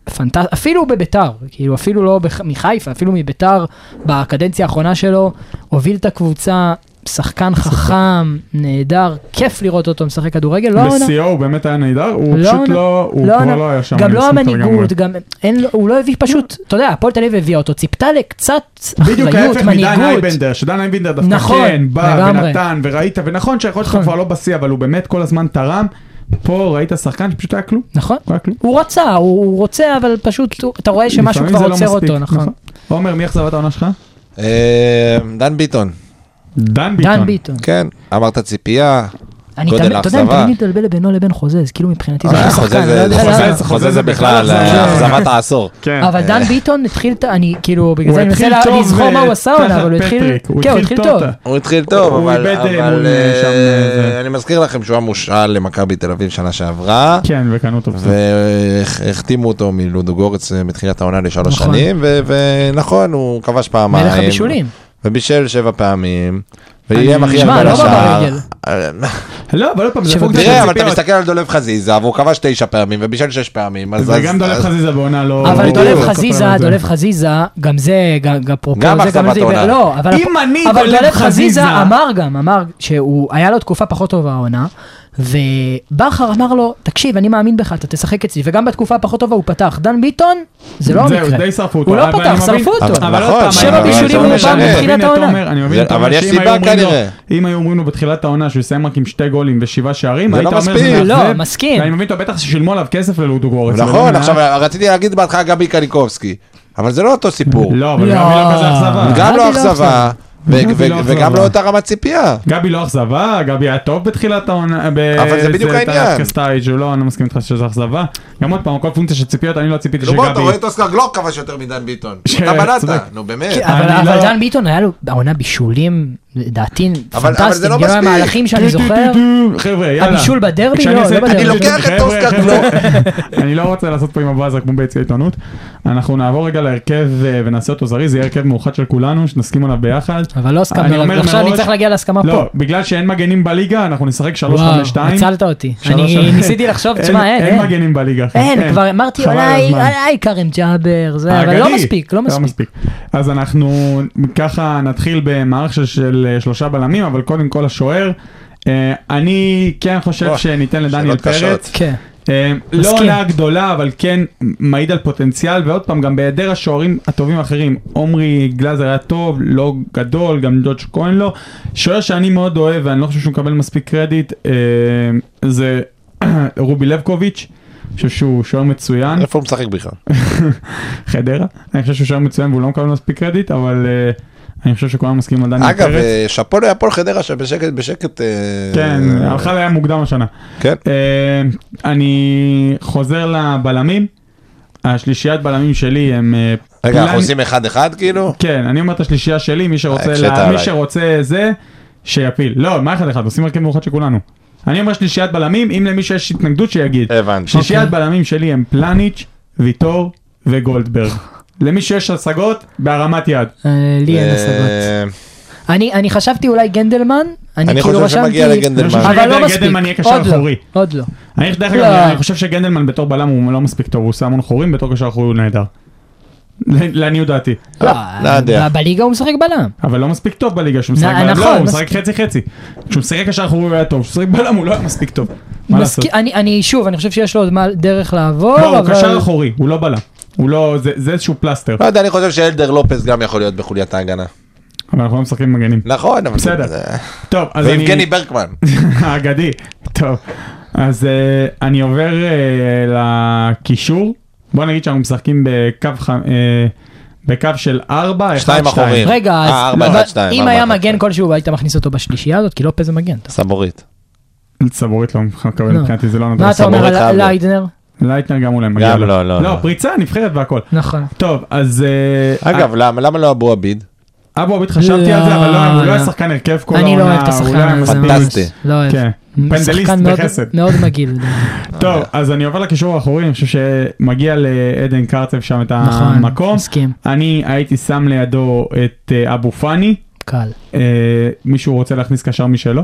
פנטסטיים, אפילו בביתר, כאילו אפילו לא בח... מחיפה, אפילו מביתר, בקדנציה האחרונה שלו, הוביל את הקבוצה, שחקן חכם, נהדר, כיף לראות אותו משחק כדורגל, לא העונה.
בשיאו הוא באמת היה נהדר, הוא
לא
פשוט
עונה.
לא, הוא
לא,
כבר
לא.
לא היה שם.
גם
אני
לא
מסכים איתך לגמרי.
המנהיגות, גם אין לו, הוא לא הביא פשוט, אתה יודע, הפועל תל אביב הביאה אותו, ציפתה לקצת
בדיוק
אחריות,
ההפך מדן
מנהיגות.
אייבנדר, שדן אייבנדר דווקא
נכון,
כן, בא
לגמרי.
ונתן וראית, ונכון שהיכולת שלו
נכון.
כבר לא בשיא, אבל הוא באמת כל הזמן תרם. פה ראית שחקן שפשוט היה כלום,
נכון.
הוא היה כלום.
הוא רצה, הוא הוא רוצה, אבל פשוט, הוא- אתה רואה שמשהו
לפעמים
כבר
זה לא
עוצר
מספיק,
אותו, נכון.
עומר, מי אכזבת העונה שלך?
אה, דן ביטון.
דן ביטון. נכון.
דן ביטון.
כן, אמרת ציפייה,
אני
גודל
תמיד- אתה יודע, אני
האכזבה.
תמיד מתבלבל בינו לבין חוזה, זה כאילו מבחינתי זה
אה,
אותו
חוזה
שחקן.
זה-
לא יודע
חוזה-
למה.
זה-
חוזה אה. זה בכלל
זה-
אה, אכזבת העשור.
כן.
אבל דן ביטון התחיל, את ה- אני כאילו, בגלל
הוא
זה אני מנסה
התחיל
לה-
טוב
לזכור מה הוא
ו-
עשה עונה,
תחת
אבל הוא התחיל,
פטריק, הוא
כן, הוא
התחיל
התחיל
טוב.
טוב.
הוא התחיל טוב,
הוא
אבל
איבד, אה,
אבל,
מול, אה,
אה,
שם, אה, זה.
אני מזכיר לכם שהוא היה מושאל למכבי תל אביב שנה שעברה.
כן, וקנו אותו. בסוף.
והחתימו אותו מלודוגורץ אה, בתחילת העונה לשלוש
נכון.
שנים, ו- ונכון, הוא כבש פעמיים.
מלך הבישולים.
ובישל שבע פעמים. ואיים הכי
שמע,
הרבה
לא
לשער.
ברגל.
אה,
לא, אבל עוד פעם, זה
שבו-
פונקציה של
תראה, אבל אתה
ציפיות.
מסתכל על דולב חזיזה, והוא כבש תשע פעמים ובישל שש פעמים. אז- אז-
וגם דולב
אז-
חזיזה בעונה לא...
אבל
בדיוק.
דולב
לא
חזיזה,
סופר את זה.
דולב חזיזה, גם זה, גם גם אפרופו
גם
זה,
אכזבת
זה,
עונה.
לא, אבל
אם אני
אבל
דולב
דולב חזיזה
חזיזה-
אמר גם, אמר שהוא, היה לו תקופה פחות טובה העונה, ובכר אמר לו, תקשיב, אני מאמין בך, אתה תשחק אצלי, וגם בתקופה הפחות טובה הוא פתח. דן ביטון, זה לא
זהו,
המקרה.
די שרפו אותו.
הוא לא
אבל
פתח,
אני מבין-
שרפו אותו.
אבל-
עוד
נכון,
פעם,
שבע
אני מבין,
בישולים
אתה
הוא
אומר,
פעם
אני
בתחילת
מבין, אתה
העונה.
אומר, אני מבין
זה-
את
אבל
העונה,
יש
שאם
סיבה
היו אומרים לו-
כנראה.
אם היו אומרים לו בתחילת העונה שהוא יסיים רק עם שתי גולים ושבעה שערים,
זה
היית
לא
אומר זה
מספיק.
מאכזב.
לא, מסכים.
ואני מבין, אתה בטח ששילמו עליו כסף ללודו גורץ.
נכון,
אבל- לא
עכשיו רציתי להגיד בהתחלה גבי קניקובסקי, אבל זה לא אותו סיפור.
לא, אבל
לא.
גבי לא כזה אכזבה.
גם
גבי
לא
לא
אכזבה, ו-
גבי
ו-
לא
וגם
אכזבה.
לא אותה רמת ציפייה.
גבי לא אכזבה, גבי היה טוב בתחילת העונה. ב-
אבל זה בדיוק
את
העניין.
הקסטייג' הוא לא, אני לא מסכים איתך שזה אכזבה. גם עוד פעם, הכל פונקציה של ציפיות, אני לא ציפיתי
נו בוא, אתה
שגבי...
רואה את אוסקר גלוק כבש יותר מדן ביטון.
כן,
אתה
צודק.
בלעת, נו באמת.
כן, אבל
אני
אבל
לא-
דן ביטון היה לו העונה בישולים, לדעתי,
אבל זה
פנטסטיים,
לא
גם
מספיק.
המהלכים שאני
טו, טו,
זוכר.
טו, טו. חבר'ה, יאללה.
הבישול בדרבי?
כשאני
לא,
עושה
לא
את
בדרבי.
הבישול-
אני לוקח את
חבר'ה, חבר'ה,
אוסקר גלוק.
אני לא רוצה לעשות פה עם הבאז רק כמו ביציע עיתונות. אנחנו נעבור רגע להרכב אה, ונעשה אותו זריז, זה יהיה הרכב מאוחד של כולנו, שנסכים עליו ביחד.
אבל לא
אני
הסכמנו,
אומר
עכשיו אני
מראש-
צריך להגיע להסכמה פה.
לא, בגלל שאין מגנים בליגה, אנחנו נשחק 3-5-2.
וואו, הצלת אותי. אני ניסיתי לחשוב, תשמע, אה, אין,
אין
אין.
מגנים בליגה. אחי,
אין, כבר אמרתי,
חבל על
אולי, אה,
הזמן.
אולי כרם ג'אבר, זה, אבל לא
האגדי.
מספיק, לא מספיק.
אז אנחנו ככה נתחיל במערך של, של אה, שלושה בלמים, אבל קודם כל השוער. אה, אני כן חושב
וואי,
שניתן לדניאל
שאלות קשות.
פרץ.
כן.
אה, לא
מסכים.
עונה גדולה, אבל כן מעיד על פוטנציאל, ועוד פעם, גם בהיעדר השוערים הטובים האחרים, עומרי גלאזר היה טוב, לא גדול, גם דודג' כהן לא. שוער שאני מאוד אוהב, ואני לא חושב שהוא מקבל מספיק קרדיט, אה, זה רובי לבקוביץ', אני חושב שהוא שוער מצוין.
איפה הוא משחק בכלל?
חדרה. אני חושב שהוא שוער מצוין והוא לא מקבל מספיק קרדיט, אבל אה, אני חושב שכולם מסכימים על דני
אגב,
פרץ.
אה, שאפו להפועל חדרה שבשקט, בשקט... אה,
כן, הלכה להם מוקדם השנה.
כן.
אה, אני חוזר לבלמים. השלישיית בלמים שלי הם... אה,
רגע,
פילני-
אנחנו עושים אה, אחד-אחד כאילו?
כן, אני אומר את השלישייה שלי, מי שרוצה,
הקשית
לה... מי
עליי.
שרוצה זה, שיפיל. לא, מה אחד אחד, עושים הרכב מאוחד של כולנו. אני אומר שלישיית בלמים, אם למישהו יש התנגדות שיגיד.
הבנתי. אוקיי.
שלישיית בלמים שלי הם פלניץ', ויטור וגולדברג. למי שיש השגות, בהרמת יד.
אה, לי אין
אה,
השגות. אני אני חשבתי אולי גנדלמן, אני
אני
כאילו
חושב
רשמתי,
שמגיע לגנדלמן.
אבל
גנדלמן
לא מספיק,
יהיה קשר
עוד לא,
אחורי.
עוד לא.
אני דרך
לא.
אגב, אני חושב שגנדלמן בתור בלם הוא לא מספיק טוב, הוא עושה המון חורים, בתור קשר אחורי הוא נהדר. ל- לעניות דעתי.
לא,
לא יודע.
ב- בליגה הוא משחק בלם.
אבל לא מספיק טוב בליגה, שהוא משחק
נ-
בלם,
נכון,
לא, הוא
מסכים.
משחק חצי חצי. כשהוא משחק קשר אחורי הוא היה טוב, כשהוא משחק בלם הוא לא היה מספיק טוב. מה לעשות?
מסכים- אני- אני שוב, אני חושב שיש לו עוד מה- דרך לעבור,
לא, הוא
אבל-
קשר אחורי, הוא לא בלם. הוא לא, זה זה איזשהו פלסטר.
לא יודע, אני חושב שאלדר לופס גם יכול להיות בחוליית ההגנה.
אבל אנחנו לא משחקים עם מגנים.
נכון, אבל...
בסדר.
זה-
טוב, אז אני...
ויבגני ברקמן.
האגדי. טוב, אז אה, אני עובר אה, לקישור. בוא נגיד שאנחנו משחקים בקו ח- אה, בקו של 4, 1, 2.
שתיים אחוריים.
רגע,
אה,
אז
ארבע,
אבל
אחד, שתיים,
אם
ארבע,
היה
אחד,
מגן
שתיים.
כלשהו היית מכניס אותו בשלישייה הזאת, כי לופה זה מגן. אתה-
סבורית.
סבורית לא מקבל
לא.
מבחינתי, זה לא נותן
מה אתה אומר
סבורית
על
חייב
ליידנר?
לייטנר גם אולי מגיע
גם
לו.
לא,
לא,
לא, לא.
פריצה נבחרת והכל.
נכון.
טוב, אז אה,
אגב, למה למה לא אבו עביד?
אבו עביד חשבתי על זה, אבל לא, הוא לא היה
לא.
שחקן הרכב כל העונה.
אני לא אוהב את
הוא לא היה
השחקן הזה.
מספיק.
פנטסטי.
ממש. לא אוהב.
כן, פנדליסט
שחקן מאוד-
בחסד.
מאוד מגעיל.
טוב, אז אני עובר לקישור האחורי, אני חושב שמגיע לעדן קרצב שם את
נכון.
המקום.
מסכים.
אני הייתי שם לידו את אה, אבו פאני.
קל.
אה, מישהו רוצה להכניס קשר משלו?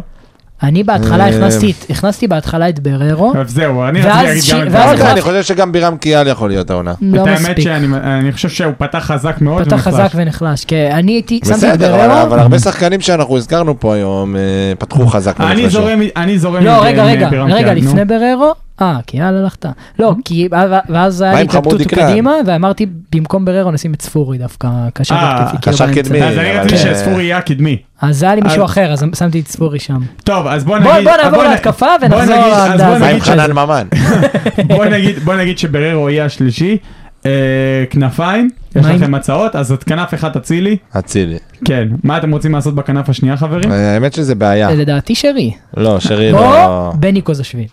אני בהתחלה
אה,
הכנסתי את- הכנסתי בהתחלה את בררו.
אז זהו, אני
ואז
רציתי להגיד
ש-
גם את
ואז
לא
זה.
יודע,
החלפתי.
אני חושב שגם בירם קיאל יכול להיות העונה.
לא
את האמת
מספיק.
שאני אני חושב שהוא פתח חזק מאוד.
פתח
ונחלש.
חזק ונחלש. כן, אני הייתי, שמתי את
בסדר, אבל-
בררו.
אבל הרבה שחקנים שאנחנו הזכרנו פה היום אה, פתחו חזק.
אני
ונחלשו.
זורם, אני זורם.
לא,
עם- אה,
רגע,
עם
רגע,
בירם
רגע,
קיאל, נו. אה?
לפני בררו, אה, כי יאללה הלכת. לא, כי, ואז היה
מה
לי
עם
התלבטות
חמודי כלל?
קדימה, ואמרתי, במקום בררו נשים את ספורי דווקא, קשר
אה,
התקפי, כאילו
קשר
באמצע.
קדמי.
אז אני
אבל-
רציתי
כן.
שספורי יהיה הקדמי.
אז היה לי מישהו
אז-
אחר, אז שמתי את ספורי שם.
טוב, אז בוא
בוא-
נגיד...
בוא
אז
נעבור
נ-
להתקפה
בוא
ונחזור
נגיד- אז
לעמדה
בוא
הזאת.
מה
נגיד
עם
שזה-
חנן ממן?
בוא נגיד, בוא נגיד שבררו יהיה השלישי. אה, כנפיים, יש
מה עם-
לכם הצעות, אז את כנף אחת אצילי,
אצילי.
כן. מה אתם רוצים לעשות בכנף השנייה
אה,
חברים?
האמת שזה בעיה.
לדעתי שרי.
לא, שרי אה. לא...
או בני קוזשווילי.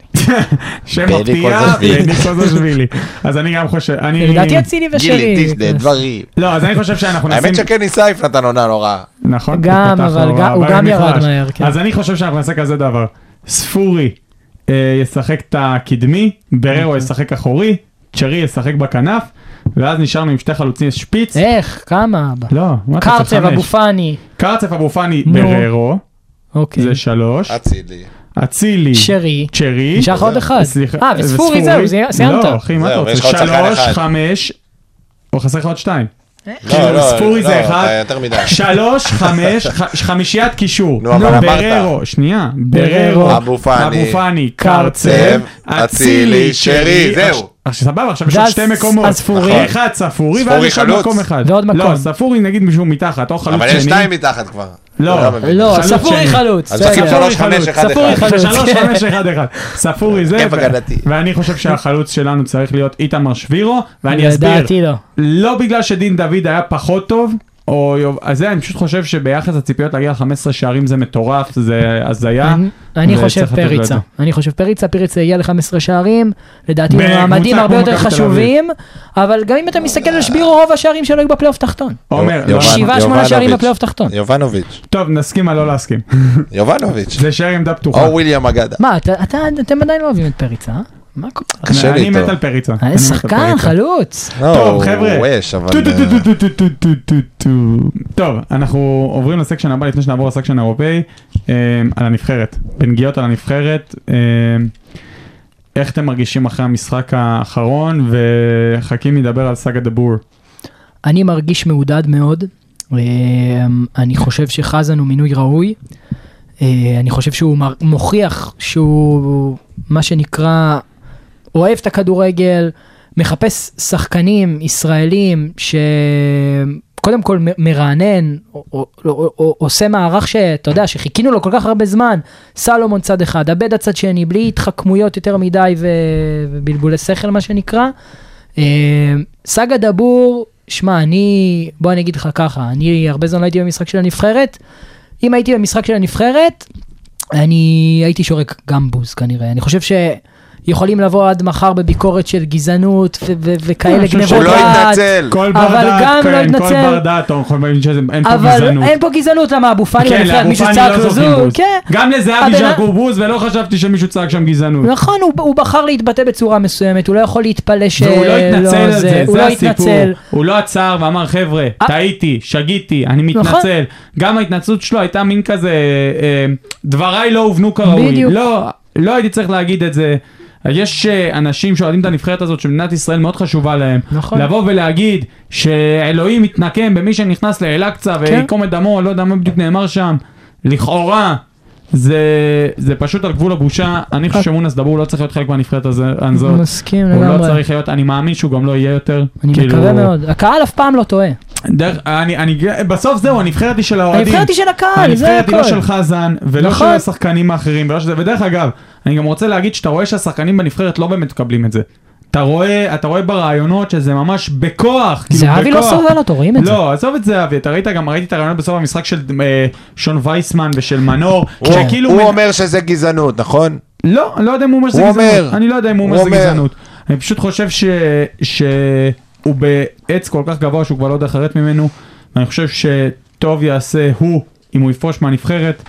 שם
בני
מפתיע,
קוזשווילי.
בני קוזשווילי. אז אני גם חושב, אני...
לדעתי אה, אצילי ושרי.
Mm. גילי, תשדה, דברים.
לא, אז אני חושב שאנחנו נשים...
האמת שכן סייף נתן עונה לא רעה.
נכון.
גם,
פתח
אבל
לו
גם- הוא גם
הבעיה
ירד
מחלש.
מהר, כן.
אז אני חושב שאנחנו נעשה כזה דבר. ספורי אה, ישחק את הקדמי,
אוקיי.
בררו ישחק אחורי, צ'רי ישחק בכנף, ואז נשארנו עם שתי חלוצים שפיץ.
איך? כמה? אבא?
לא, מה אתה צריך
אה, קרצב,
חמש?
אבו פאני.
קרצב אבו פאני
נו.
בררו,
אוקיי.
זה שלוש.
אצילי.
אצילי,
שרי.
צ'רי.
נשאר לך עוד אחד.
סליחה,
אה, וספורי זהו, זה- סיימת.
לא, אחי, מה אתה
זהו,
רוצה?
ויש לך עוד שחקן
שלוש,
אחד.
חמש, או חסר לך עוד שתיים.
לא, לא,
כן, כאילו, ספורי
לא,
זה
אתה
אחד.
יותר מדי.
שלוש, חמש, ח- חמישיית קישור.
נו, אבל אמרת.
בררו, שנייה, בררו,
אבו פאני,
אבו פאני,
קרצב,
קרצב,
אצילי,
אצילי, שרי,
שרי, זהו.
עכשיו- עכשיו סבבה, עכשיו יש עוד
ואז-
שתי מקומות. אה,
אז ספורי.
אחד ספורי, ואז
ספורי
יש עוד
חלוץ.
מקום אחד.
ועוד מקום.
לא, ספורי נגיד מישהו מתחת, או חלוץ שני.
אבל יש שתיים מתחת כבר.
לא.
אני מבין.
לא,
חלוץ
ספורי
שני.
חלוץ.
אז
בסדר.
עכשיו
ספורי
שלוש, חמש,
חלוץ,
אחד,
ספורי
אחד.
חלוץ. כן.
זה שלוש, חמש, אחד, אחד. ספורי זה,
הרכב
ו-
הגנתי.
ואני חושב שהחלוץ שלנו צריך להיות איתמר שבירו, ואני אסביר.
לדעתי לא.
לא בגלל שדין דוד היה פחות טוב, או יוב- אז זה, אני פשוט חושב שביחס לציפיות להגיע ל-15 שערים זה מטורף, זה הזיה.
אני- אני
וצריך
חושב
אה? לתת לו את
פריצה,
זה.
אני חושב פריצה, פריצה יגיע ל-15 שערים, לדעתי
בקבוצה
במעמדים
כמו
הרבה יותר
מכבי תל אביב.
חשובים, אבל גם אם אתה מסתכל
אה,
על שבירו רוב השערים שלו היו בפלייאוף תחתון.
עומר, לא-
יובן-
שבעה, שמונה
יובנוביץ'.
שערים בפלייאוף תחתון.
יובנוביץ'.
טוב, נסכים על לא להסכים.
יובנוביץ'.
זה שער עמדה פתוחה.
או וויליאם אגדה.
מה, אתה- אתה- אתם עדיין לא אוהבים את פריצה, אה? מה כל כך?
קשה לי
אני מת
איתו.
על פריצה. אני
אה,
מת על
שחקן,
פריצה.
חלוץ.
לא,
טוב,
הוא-
חבר'ה.
הוא אש, אבל...
טו, טו,
אה,
טו, טו, טו, טו, טו, טו, טו. טוב, אנחנו עוברים לסקשן הבא לפני שנעבור לסקשן האירופאי, אה, על הנבחרת. בנגיעות על הנבחרת. אה, איך אתם מרגישים אחרי המשחק האחרון, וחכים ידבר על סאגה דבור.
אני מרגיש מעודד מאוד. אמ, אני חושב שחזן הוא מינוי ראוי. אה, אני חושב שהוא מר- מוכיח שהוא מה שנקרא אוהב את הכדורגל, מחפש שחקנים ישראלים שקודם כל מ- מרענן, או- או- או- או- עושה מערך שאתה יודע שחיכינו לו כל כך הרבה זמן, סלומון צד אחד, עבדה צד שני, בלי התחכמויות יותר מדי ו- ובלבולי שכל מה שנקרא. אה, סאגה דבור, שמע, אני, בוא אני אגיד לך ככה, אני הרבה זמן לא הייתי במשחק של הנבחרת. אם הייתי במשחק של הנבחרת, אני הייתי שורק גם בוז כנראה. אני חושב שיכולים לבוא עד מחר בביקורת של גזענות ו- ו- וכאלה
אני חושב
גנבות
הוא
שהוא
לא
דעת.
התנצל.
כל בר
אבל גם
דעת,
לא
כן, כל
התנצל.
בר דעת, הוא יכול להגיד שזה- אין פה
אבל
גזענות.
אין פה גזענות, למה אבו פאני
כן,
בנבחרת,
לאבו
מישהו
פאני
צעק
לא
לו
זורקים
זו,
בוז.
כן.
גם לזהבי
הבן-
זרקו בוז, ולא חשבתי שמישהו צעק שם גזענות.
נכון, הוא, הוא בחר להתבטא בצורה מסוימת, הוא לא יכול להתפלא שלא
והוא לא התנצל על זה,
הוא
זה
לא
הסיפור.
התנצל. אה.
הוא לא עצר ואמר חבר'ה, טעיתי, שגיתי, אני
נכון.
מתנצל. גם ההתנצלות שלו הייתה מין כזה, אה, דבריי לא הובנו כראוי.
בדיוק.
לא, לא הייתי צריך להגיד את זה. יש אה, אנשים שאוהדים את הנבחרת הזאת שמדינת ישראל מאוד חשובה להם.
נכון.
לבוא ולהגיד שאלוהים מתנקם במי שנכנס לאל-אקצא
כן.
ויקום את דמו, לא יודע מה בדיוק נאמר שם. לכאורה. זה, זה פשוט על גבול הבושה, אני חושב שמונס דבור לא צריך להיות חלק מהנבחרת הזה- הזאת.
אה. מסכים
הוא לא
לגמרי.
צריך להיות, אני מאמין שהוא גם לא יהיה יותר.
אני מקווה מאוד. הקהל אף פעם לא טועה.
דרך, אני, אני, בסוף זהו, הנבחרת היא של האוהדים.
הנבחרת היא של הקהל, זה
הנבחרת היא לא
הכל.
של חזן, ולא
נכון.
של השחקנים האחרים, ולא של זה. ודרך אגב, אני גם רוצה להגיד שאתה רואה שהשחקנים בנבחרת לא באמת מקבלים את זה. אתה רואה, אתה רואה ברעיונות שזה ממש בכוח, כאילו
זהבי לא
בכוח.
סובל אותו, רואים את זה.
לא, עזוב את זהבי, אתה ראית גם, ראיתי את הרעיונות בסוף המשחק של אה, שון וייסמן ושל מנור,
הוא-
שכאילו...
כן. הוא
כאילו מנ-
אומר שזה גזענות, נכון?
לא, אני לא יודע אם הוא אומר שזה
הוא
גזענות.
אומר.
אני לא יודע אם הוא אומר
הוא
שזה
אומר.
גזענות. אני פשוט חושב ש... שהוא בעץ כל כך גבוה שהוא כבר לא יודע לחרט ממנו. ואני חושב שטוב יעשה הוא אם הוא יפרוש מהנבחרת,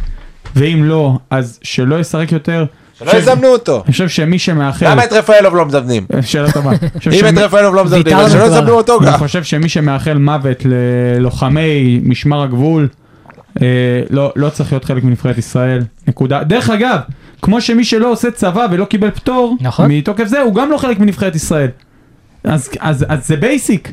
ואם לא, אז שלא ישחק יותר.
לא יזמנו אותו.
אני חושב שמי שמאחר...
למה את רפאלוב לא מזמנים?
שאלה טובה. אני חושב
אם
שמי-
את רפאלוב לא מזמנים,
ויתרנו
אז שלא
כבר.
יזמנו אותו
אני
גם.
חושב שמי שמאחל מוות ללוחמי משמר הגבול, אה, לא, לא צריך להיות חלק מנבחרת ישראל. נקודה. דרך אגב, כמו שמי שלא עושה צבא ולא קיבל פטור,
נכון.
מתוקף זה, הוא גם לא חלק מנבחרת ישראל. אז, אז, אז זה בייסיק.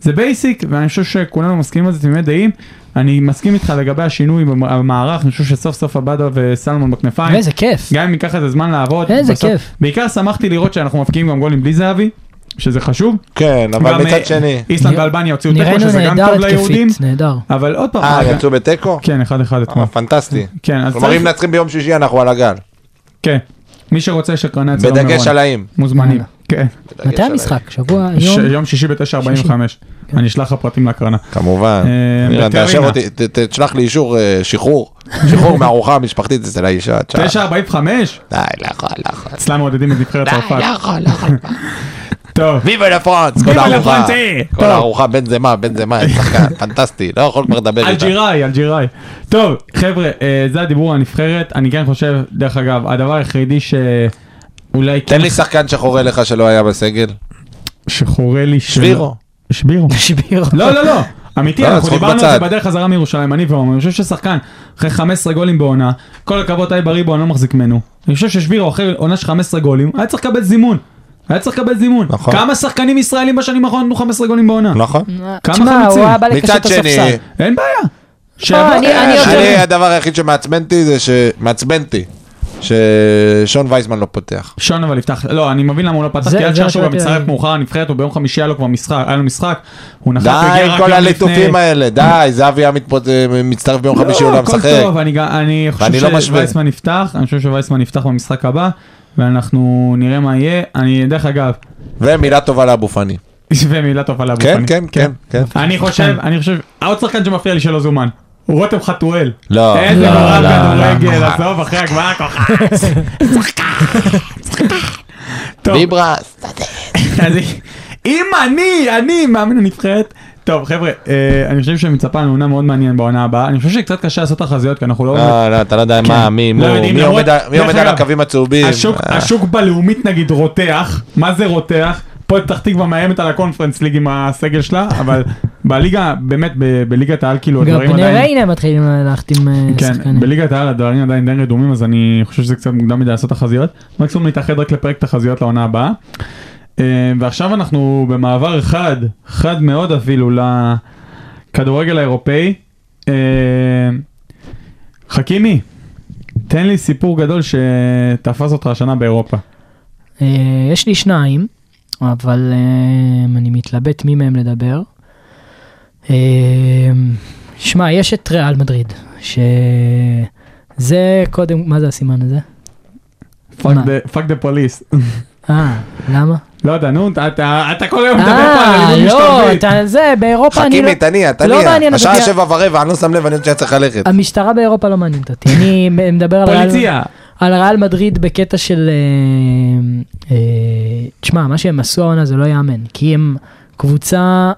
זה בייסיק, ואני חושב שכולנו מסכימים על זה תמימי דעים. אני מסכים איתך לגבי השינוי במ- במערך, אני חושב שסוף סוף עבדה וסלמון בכנפיים.
איזה כיף.
גם אם ייקח איזה זמן לעבוד.
איזה
בסוף-
כיף.
בעיקר שמחתי לראות שאנחנו מבקיעים גם גולים בלי זהבי, שזה חשוב.
כן,
גם,
אבל
אה,
מצד שני.
איסלנד
נרא-
ואלבניה הוציאו תיקו
נראינו
שזה גם
נהדר
טוב ליהודים,
התקפית, נהדר.
אבל עוד פעם,
אה,
אבל-
יצאו בתיקו?
כן אחד אחד אתמול,
אה, פנטסטי.
כן, אז
כלומר,
צריך-
אם מנצחים ביום שישי אנחנו על הגל.
כן, מי שרוצה שקרני אצלנו
בדגש
מירון,
על האם.
מוזמנים,
יאללה.
כן.
מתי המשחק? שבוע, יום? כן.
ש- יום שישי ב-9:45. אני אשלח לך פרטים להקרנה.
כמובן.
אה,
אילן,
בטרינה.
תאשר אותי, ת- ת- תשלח לי אישור אה, שחרור, שחרור מהארוחה המשפחתית אצל האישה. תשעה.
9:45?
די, לא יכול, לא יכול.
אצלם מעודדים את נבחרת צרפת.
לא יכול, לא יכול.
טוב.
ויבה לה פרנס, כל
ויבה לה
הארוחה.
פרנס, אה,
כל
טוב.
הארוחה בן זמה, בן זמה, איזה שחקן, פנטסטי, לא יכול כבר לדבר איתה.
אלג'יראי, אלג'יראי. טוב, חבר'ה, אה, זה הדיבור על הנבחרת. אני כן חושב, דרך אגב, הדבר היחידי שאולי כן
תן לי שחקן שחורה לך שלא היה בסגל.
שחורה לי... שלא-
שבירו.
שבירו.
שביר.
לא, לא, לא. אמיתי,
לא,
אנחנו
צחוק
דיברנו על זה
בצד.
בדרך חזרה מירושלים, אני ועומר. אני חושב ששחקן, אחרי 15 גולים בעונה, כל הכבוד, טייב בריבו, אני לא מחזיק ממנו. אני חושב ששבירו, אחרי עונה של 15 גולים, היה צריך לקבל זימון. היה צריך לקבל זימון.
נכון.
כמה שחקנים ישראלים בשנים האחרונות נתנו 15 גולים בעונה?
נכון.
כמה
תשמע,
חלוצים?
הוא היה בא לקשר
מצד
את
שני,
הספסל.
אין בעיה.
אה,
שיבוא-
אני- אני יותר-
שני, הדבר היחיד שמעצבן אותי זה ש... מעצבן אותי, ששון וייזמן לא פותח.
שון אבל יפתח, לא, אני מבין למה הוא לא פתח,
זה-
כי
זה
אלצ'ר
מה
שהוא גם
שבאתי
מצטרף
כן.
להגיד.
מאוחר לנבחרת, הוא ביום חמישי היה לו כבר משחק, היה לו משחק, הוא נחת
די,
בגר
עם
רק
כל
יום
הליטופים
לפני.
האלה, די, זהבי היה מתפוצ- מצטרף ביום חמישי, הוא לא
לא, הכל
משחק.
טוב, אני גם- אני
ואני לא
חושב
משווה.
שווייסמן יפתח, אני חושב שווייסמן יפתח במשחק הבא, ואנחנו נראה מה יהיה, אני, דרך אגב,
ומילה טובה לאבו פאני.
ומילה טובה לאבו
כן,
פאני.
כן, כן, כן.
אני חושב, אני חושב, העוד שחקן שמפריע לי שלא זומן, הוא רותם חתואל.
לא,
איזה
לא,
גורם
לא,
כדורגל, עזוב, אחרי הגמרא כוחה. טוב,
ביברס.
אז אם אני, אני מאמן הנבחרת. טוב חבר'ה, אה, אני חושב שמצפה לנו עונה מאוד מעניינת בעונה הבאה, אני חושב שקצת קשה לעשות תחזיות כי אנחנו לא...
לא, לא, אתה לא יודע מה, מי,
לא
מו,
יודעים,
מי
למרות-
עומד על- מי
דרך
עומד על
אגב,
הקווים הצהובים.
השוק,
אה,
השוק בלאומית נגיד רותח, מה זה רותח? פה פתח תקווה מאיימת על הקונפרנס ליג עם הסגל שלה, אבל בליגה, באמת, ב- בליגת העל כאילו
גם
הדברים
בני
עדיין...
ריינה מתחילים להחתים אה,
כן,
שחקנים.
בליגת העל הדברים עדיין די רדומים, אז אני חושב שזה קצת מוקדם מדי לעשות תחזיות. מקסימום נתאחד רק לפרק תחזיות לעונה הבאה. אה, ועכשיו אנחנו במעבר חד, חד מאוד אפילו, לכדורגל האירופאי. אה, חכימי, תן לי סיפור גדול שתפס אותך השנה באירופה.
אה, יש לי שניים, אבל אה, אני מתלבט מי מהם לדבר. אה, שמע, יש את ריאל מדריד, שזה קודם, מה זה הסימן הזה?
פאק
מה?
דה- פאק דה פוליס.
אה, למה?
לא יודע, נו, אתה- אתה אתה כל היום מדבר פה על
אה,
אלימות
לא,
משטרתית.
אתה זה, באירופה אני לא...
חכימי, תניע,
לא
תניע.
מעניין אותי.
השעה שבע ורבע, אני לא שם לב, אני עוד שנייה צריך ללכת.
אה.
המשטרה באירופה לא מעניינת אותי, אני מדבר על ריאל...
פוליציה.
על ריאל מדריד בקטע של... אה, אה, תשמע, מה שהם עשו העונה זה לא ייאמן, כי הם קבוצה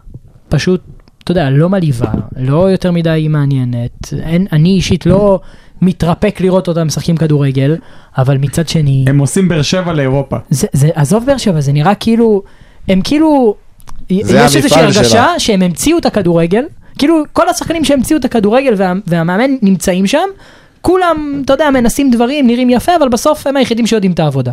פשוט, אתה יודע, לא מלהיבה, לא יותר מדי מעניינת. אין, אני אישית לא מתרפק לראות אותם משחקים כדורגל, אבל מצד שני...
הם עושים באר שבע לאירופה.
זה, זה, עזוב באר שבע, זה נראה כאילו, הם כאילו,
זה
יש איזושהי
המפעל
הרגשה
שלה.
שהם המציאו את הכדורגל, כאילו כל השחקנים שהמציאו את הכדורגל וה, והמאמן נמצאים שם, כולם, אתה יודע, מנסים דברים, נראים יפה, אבל בסוף הם היחידים שיודעים את העבודה.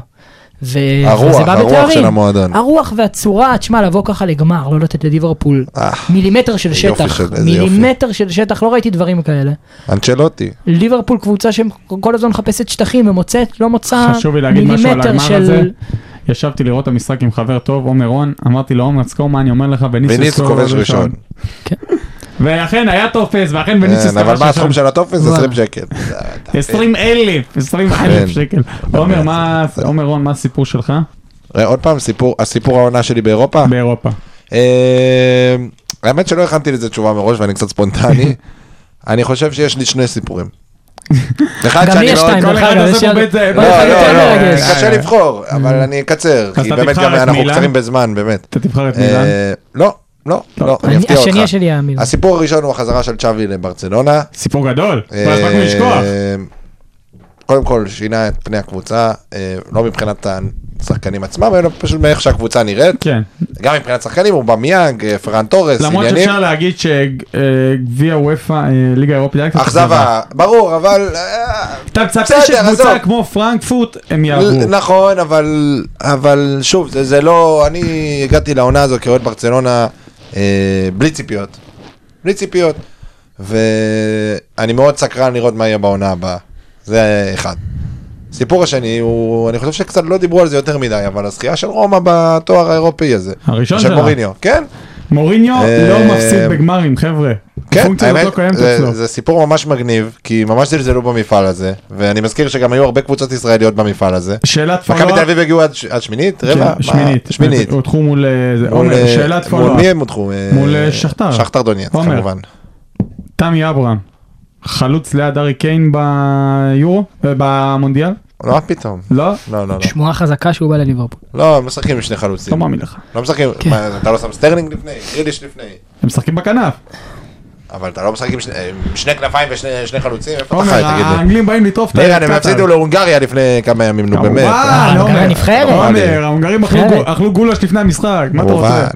ו...
הרוח,
וזה בא
הרוח
בתארים.
של המועדון.
הרוח והצורה, תשמע, לבוא ככה לגמר, לא לתת לליברפול
אה,
מילימטר של
איזה יופי
שטח,
של- איזה יופי.
מילימטר של שטח, לא ראיתי דברים כאלה.
אנצ'לוטי.
ליברפול קבוצה שכל הזמן מחפשת שטחים ומוצאת, לא מוצאה
חשוב לי להגיד משהו על
מילימטר
הגמר הזה.
של...
ישבתי לראות את המשחק עם חבר טוב, עומר רון, אמרתי לו, עומר, תזכור מה אני אומר לך,
ויניס
וניסיוס
כובש ראשון.
ואכן היה טופס, ואכן וניסיוס
כן, אבל
כובש
מה הסכום
ראשון.
של הטופס?
וואלה.
20 שקל.
20 אלף, 20 אלף
כן.
שקל. עומר, מה- עומר רון, מה הסיפור שלך
ראה, אה, עוד פעם, סיפור, הסיפור העונה שלי באירופה.
באירופה?
אה, האמת שלא הכנתי לזה תשובה מראש ואני קצת ספונטני. אני חושב שיש לי שני סיפורים. אחד
גם לי
שאני
יש
מאוד...
שתיים,
כל
דרך
אחד
אגב, יש
עושה פה
לי- אה,
בית זה,
לא,
בית
לא אחד
זה
לא,
יותר
לא,
מרגש.
קשה לבחור, אבל אני אקצר,
אז
כי
אתה
באמת
תבחר
גם
את
אנחנו
מילאן?
קצרים בזמן, באמת.
אתה תבחר את
אה,
מילאן.
לא, לא, לא, אני
אני-
אפתיע אותך.
אה, השני שלי היה מילאן.
הסיפור הראשון הוא החזרה של צ'אבי לברצלונה.
סיפור גדול, כל
אה,
הזמן לשכוח.
קודם כל שינה את פני הקבוצה, אה, לא מבחינת השחקנים עצמם, אלא פשוט מאיך שהקבוצה נראית.
כן,
גם מבחינת שחקנים, הוא במיאנג, אה, פרן תורס,
למרות
עניינים.
שאפשר להגיד שגביע וופא, אה, ליגה אירופית, היה קצת
אכזבה, ברור, אבל... אה,
אתה מצפה
בסדר,
שקבוצה
עזוב.
כמו פרנקפורט הם יעברו.
ל- נכון, אבל, אבל שוב, זה, זה לא, אני הגעתי לעונה הזו כאוהד ברצלונה אה, בלי ציפיות. בלי ציפיות. ואני מאוד סקרן לראות מה יהיה בעונה הבאה. זה אחד. הסיפור השני הוא, אני חושב שקצת לא דיברו על זה יותר מדי, אבל הזכייה של רומא בתואר האירופאי הזה.
הראשון
של
שלה.
מוריניו, כן?
מוריניו
אה,
לא מפסיד בגמרים, חבר'ה.
כן,
הפונקציה הזאת לא
האמת,
קיימת
זה-
אצלו.
זה סיפור ממש מגניב, כי ממש זלזלו במפעל הזה, ואני מזכיר שגם היו הרבה קבוצות ישראליות במפעל הזה.
שאלת
מכבי
follow-up.
תל אביב הגיעו עד ש- עד שמינית?
כן,
רבע? מה?
שמינית.
שמינית.
הודחו מול... אה, זה-
מול,
עומר,
אה,
שאלת
מול מי
פולו-אפ.
הם הודחו? אה,
מול, אה, שכתר.
שכתר דונייץ,
עומר.
כמובן.
תמי אברהם. חלוץ ליד ארי קיין ביורו? אה, במונדיאל?
לא, פתאום.
לא?
לא, לא, לא.
שמועה חזקה שהוא בא לליברפול.
לא, הם משחקים עם שני
לא
חלוצים.
מאמין לך.
לא משחקים,
כן.
מה, אתה לא שם סטרלינג לפני? גריליש לפני?
הם משחקים בכנף.
אה, אבל אתה לא משחק עם שני- עם שני כנפיים ושני שני חלוצים? איפה אתה
עומר, אה,
חי, תגיד לי?
האנגלים באים לטרוף את
נראה,
את
הם
קטאר.
הפסידו להונגריה לפני כמה ימים, נו באמת.
כמובן,
אה,
עומר.
הנבחרת.
עומר, ההונגרים אכלו
נבחרת.
גו- אכלו גולש לפני המשחק, מה אתה
כמובן.
רוצה?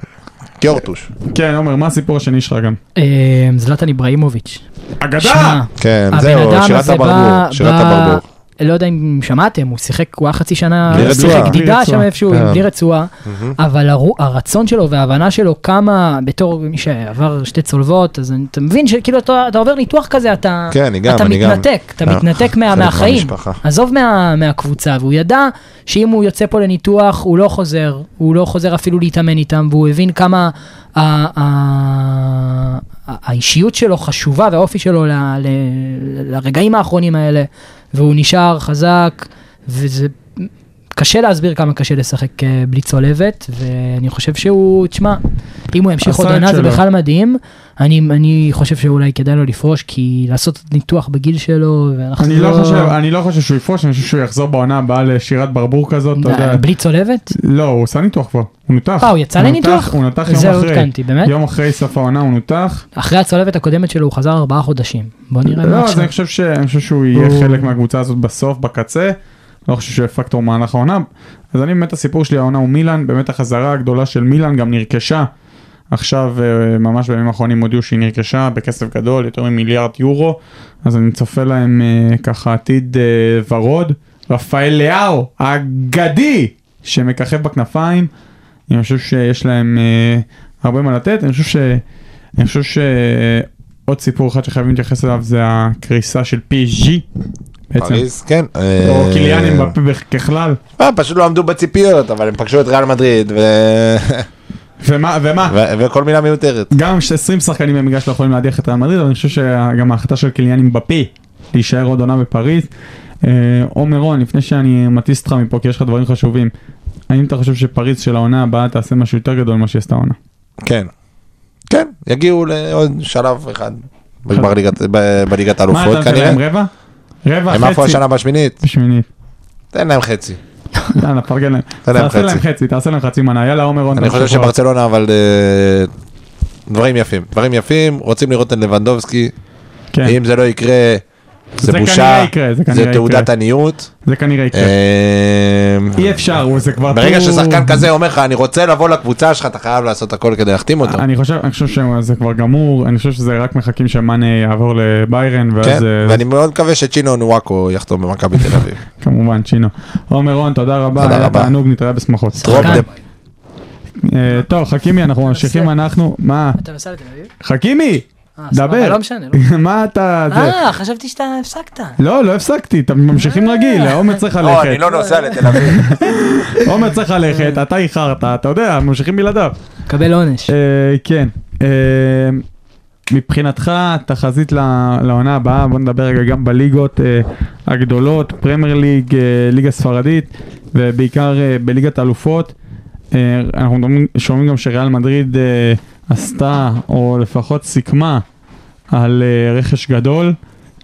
גיורטוש.
כן, עומר, מה הסיפור השני שלך גם?
אה, זלטן איבראימוביץ'.
אגדה!
שמע,
כן,
הבן
זהו,
אדם
שירת
הזה
הברבור.
בא-
שירת
בא-
הברבור.
לא יודע אם שמעתם, הוא שיחק, הוא היה חצי שנה,
בלי
שיחק
רצועה.
בלי
גדידה
רצועה.
שם איפשהו,
כן.
עם בלי רצועה, אבל הרו- הרצון שלו וההבנה שלו כמה, בתור מי שעבר שתי צולבות, אז אני- אתה מבין שכאילו אתה אתה עובר ניתוח כזה, אתה
כן, אני גם,
אתה
אני גם.
מתנתק, אתה
אה,
מתנתק מה-
חלק
מהחיים,
מהמשפחה.
עזוב מה- מהקבוצה, והוא ידע שאם הוא יוצא פה לניתוח, הוא לא חוזר, הוא לא חוזר אפילו להתאמן איתם, והוא הבין כמה ה- ה- ה- האישיות שלו חשובה והאופי שלו ל- ל- לרגעים האחרונים האלה, והוא נשאר חזק, וזה קשה להסביר כמה קשה לשחק אה, בלי צולבת, ואני חושב שהוא, תשמע, אם הוא ימשיך
עשה
עוד
את
עונה זה
שלו.
בכלל מדהים. אני, אני חושב שאולי כדאי לו לפרוש, כי לעשות ניתוח בגיל שלו, ואנחנו
אני לא חושב, אני לא חושב שהוא יפרוש, אני חושב שהוא יחזור בעונה הבאה לשירת ברבור כזאת, אתה יודע.
אה, בלי צולבת?
לא, הוא עשה ניתוח כבר, הוא נותח.
אה, הוא יצא לניתוח?
נותח, הוא נותח יום
זה
אחרי.
עודכנתי, באמת?
יום אחרי סוף העונה הוא נותח.
אחרי הצולבת הקודמת שלו הוא חזר ארבעה חודשים. בוא נראה מה
לא, אז
עכשיו.
אני חושב ש- אני חושב שהוא יהיה
הוא-
חלק מהקבוצה הזאת בסוף, בקצה. לא חושב שהוא יהיה פקטור במהלך העונה. אז אני באמת הסיפור שלי העונה הוא מילאן, באמת החזרה הגדולה של מילאן גם נרכשה. עכשיו, אה, ממש בימים האחרונים הודיעו שהיא נרכשה בכסף גדול, יותר ממיליארד יורו. אז אני צופה להם אה, ככה עתיד אה, ורוד. רפאל לאהו, האגדי, שמככב בכנפיים. אני חושב שיש להם אה, הרבה מה לתת, אני חושב ש... אני חושב שעוד סיפור אחד שחייבים להתייחס אליו זה הקריסה של PSG בעצם,
פריז, כן.
או
אה,
קיליאן אמבפה בכ- ככלל,
אה, פשוט לא עמדו בציפיות, אבל הם פגשו את ריאל מדריד, ו-
ומה, ומה,
ו- וכל מילה מיותרת.
גם ש-20 שחקנים במגרש לא יכולים להדיח את ריאל מדריד, אבל אני חושב שגם ההחלטה של קיליאן אמבפה להישאר עוד עונה בפריז. אה, עומר רון, לפני שאני מטיס אותך מפה כי יש לך דברים חשובים, האם אתה חושב שפריז של העונה הבאה תעשה משהו יותר גדול ממה שהיא עשתה העונה?
כן. כן, יגיעו לעוד שלב אחד. בגמר ליגת- ב- בליגת
מה אתה
האלופות
נותן
כנראה.
להם רבע? רבע,
הם עפו
חצי,
השנה בשמינית,
שמינית.
תן להם חצי.
יאללה, פרגן להם.
תן להם
תעשה להם
חצי.
חצי, תעשה להם חצי מנה. יאללה, עומר רון.
אני חושב
תמשיך הלאה.
שברצלונה אבל אה, דברים יפים, דברים יפים, רוצים לראות את לבנדובסקי,
כן,
אם זה לא יקרה,
זה
זה
כנראה
בושה,
יקרה, כן. זה
זה
כנראה
תעודת
יקרה.
עניות.
זה כנראה יקרה.
אה,
אי אפשר, הוא- זה כבר...
ברגע
טור-
ששחקן כזה אומר לך, אני רוצה לבוא לקבוצה שלך, אתה חייב לעשות הכל כדי להחתים אותו.
אני חושב, אני חושב שזה כבר גמור, אני חושב שזה רק מחכים שמאנה יעבור לביירן,
כן,
ואז אה,
ואני מאוד מקווה שצ'ינו נוואקו יחתום במכבי תל אביב.
כמובן, שינו. עומר רון, תודה רבה,
תודה
היה
רבה.
תענוג, נתראה בשמחות.
דרופ
שחקן.
דה-
אה, טוב, חכימי, אנחנו ממשיכים, אנחנו... מה?
אתה נוסע לתל אביב?
חכימי!
אה, סבבה,
דבר.
לא משנה. לא.
מה אתה... זה?
אה, חשבתי שאתה הפסקת.
לא, לא הפסקתי, אתם ממשיכים רגיל, האומץ צריך
לא,
ללכת.
אני לא נוסע לתל אביב.
עומר צריך ללכת, אתה איחרת, אתה יודע, ממשיכים בלעדיו.
קבל עונש.
אה, כן. אה, מבחינתך, תחזית ל- לעונה הבאה, בוא נדבר רגע גם בליגות אה, הגדולות, פרמייר ליג, אה, ליגה ספרדית, ובעיקר אה, בליגת האלופות. אה, אנחנו מדברים- שומעים גם שריאל מדריד אה, עשתה, או לפחות סיכמה, על אה, רכש גדול,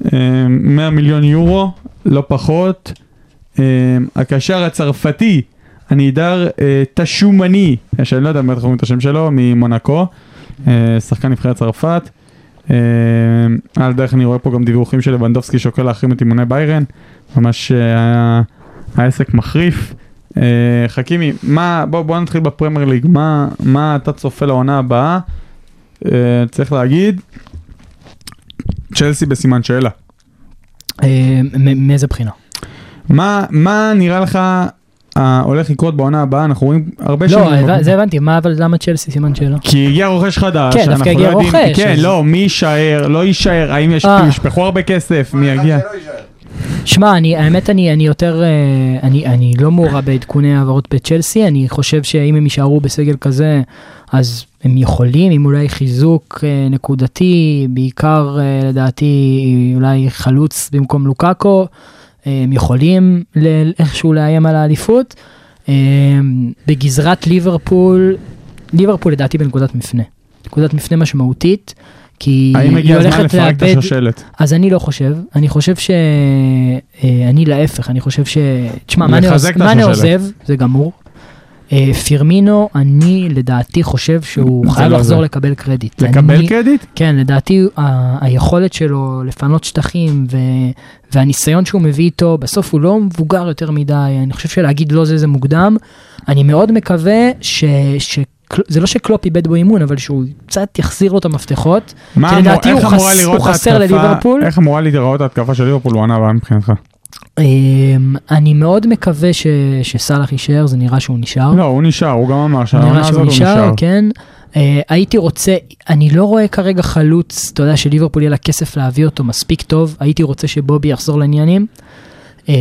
אה, 100 מיליון יורו, לא פחות. אה, הקשר הצרפתי, הנידר אה, תשומני, שאני לא יודע באמת קוראים את השם שלו, ממונקו, אה, שחקן נבחרת צרפת. אה, על דרך אני רואה פה גם דיווחים של לבנדובסקי שוקל להחרים את אימוני ביירן, ממש אה, היה- העסק מחריף. אה, חכימי, מה, בוא, בוא נתחיל בפרמייר ליג, מה, מה אתה צופה לעונה הבאה? אה, צריך להגיד, צ'לסי בסימן שאלה.
אה, מ- מאיזה בחינה?
מה, מה נראה לך אה, הולך לקרות בעונה הבאה? אנחנו רואים הרבה
לא,
שנים.
הבנ- זה הבנתי, מה אבל למה צ'לסי סימן שאלה?
כי הגיע רוכש חדש,
כן, דווקא
אנחנו לא
הגיע
יודעים-
רוכש,
כן,
אז-
לא, מי יישאר, לא יישאר, האם יש,
אה.
ישפכו הרבה כסף, מי יגיע?
שמע, אני, האמת, אני, אני יותר, אה, אני, אני לא מעורב בעדכוני העברות בצ'לסי, אני חושב שאם הם יישארו בסגל כזה, אז הם יכולים עם אולי חיזוק אה, נקודתי, בעיקר אה, לדעתי אולי חלוץ במקום לוקאקו, אה, הם יכולים ל- איכשהו לאיים על האליפות. אה, בגזרת ליברפול, ליברפול לדעתי בנקודת מפנה, נקודת מפנה משמעותית, כי
האם
היא
הגיע הזמן
הולכת
לפרק את
לאבד...
השושלת?
אז אני לא חושב, אני חושב ש... אה, אני להפך, אני חושב ש... תשמע, מה אני עוז-
לחזק את
מה אני
השושלת.
עוזב, זה גמור. אה, פירמינו, אני לדעתי חושב שהוא
זה
חייב
לא
לחזור
זה.
לקבל קרדיט.
לקבל
אני-
קרדיט?
כן, לדעתי ה- היכולת שלו לפנות שטחים ו... והניסיון שהוא מביא איתו, בסוף הוא לא מבוגר יותר מדי, אני חושב שלהגיד לא זה זה מוקדם. אני מאוד מקווה ש... ש... זה לא שקלופ איבד בו אימון, אבל שהוא קצת יחזיר לו את המפתחות.
מה
כי
אמור-
לדעתי
איך
הוא
אמורה
חס-
להיראות
הוא חסר
ההתקפה-
לליברפול. אה?
איך אמורה להיראות ההתקפה של ליברפול הוא ענה מבחינתך?
אמ, אני מאוד מקווה ש- שסאלח יישאר, זה נראה שהוא נשאר.
לא, הוא נשאר, הוא גם אמר שהעונה
נראה
הזאת הוא
שהוא נשאר,
נשאר.
כן. אה, הייתי רוצה, אני לא רואה כרגע חלוץ, אתה יודע שליברפול יהיה לה כסף להביא אותו מספיק טוב, הייתי רוצה שבובי יחזור לעניינים. אה,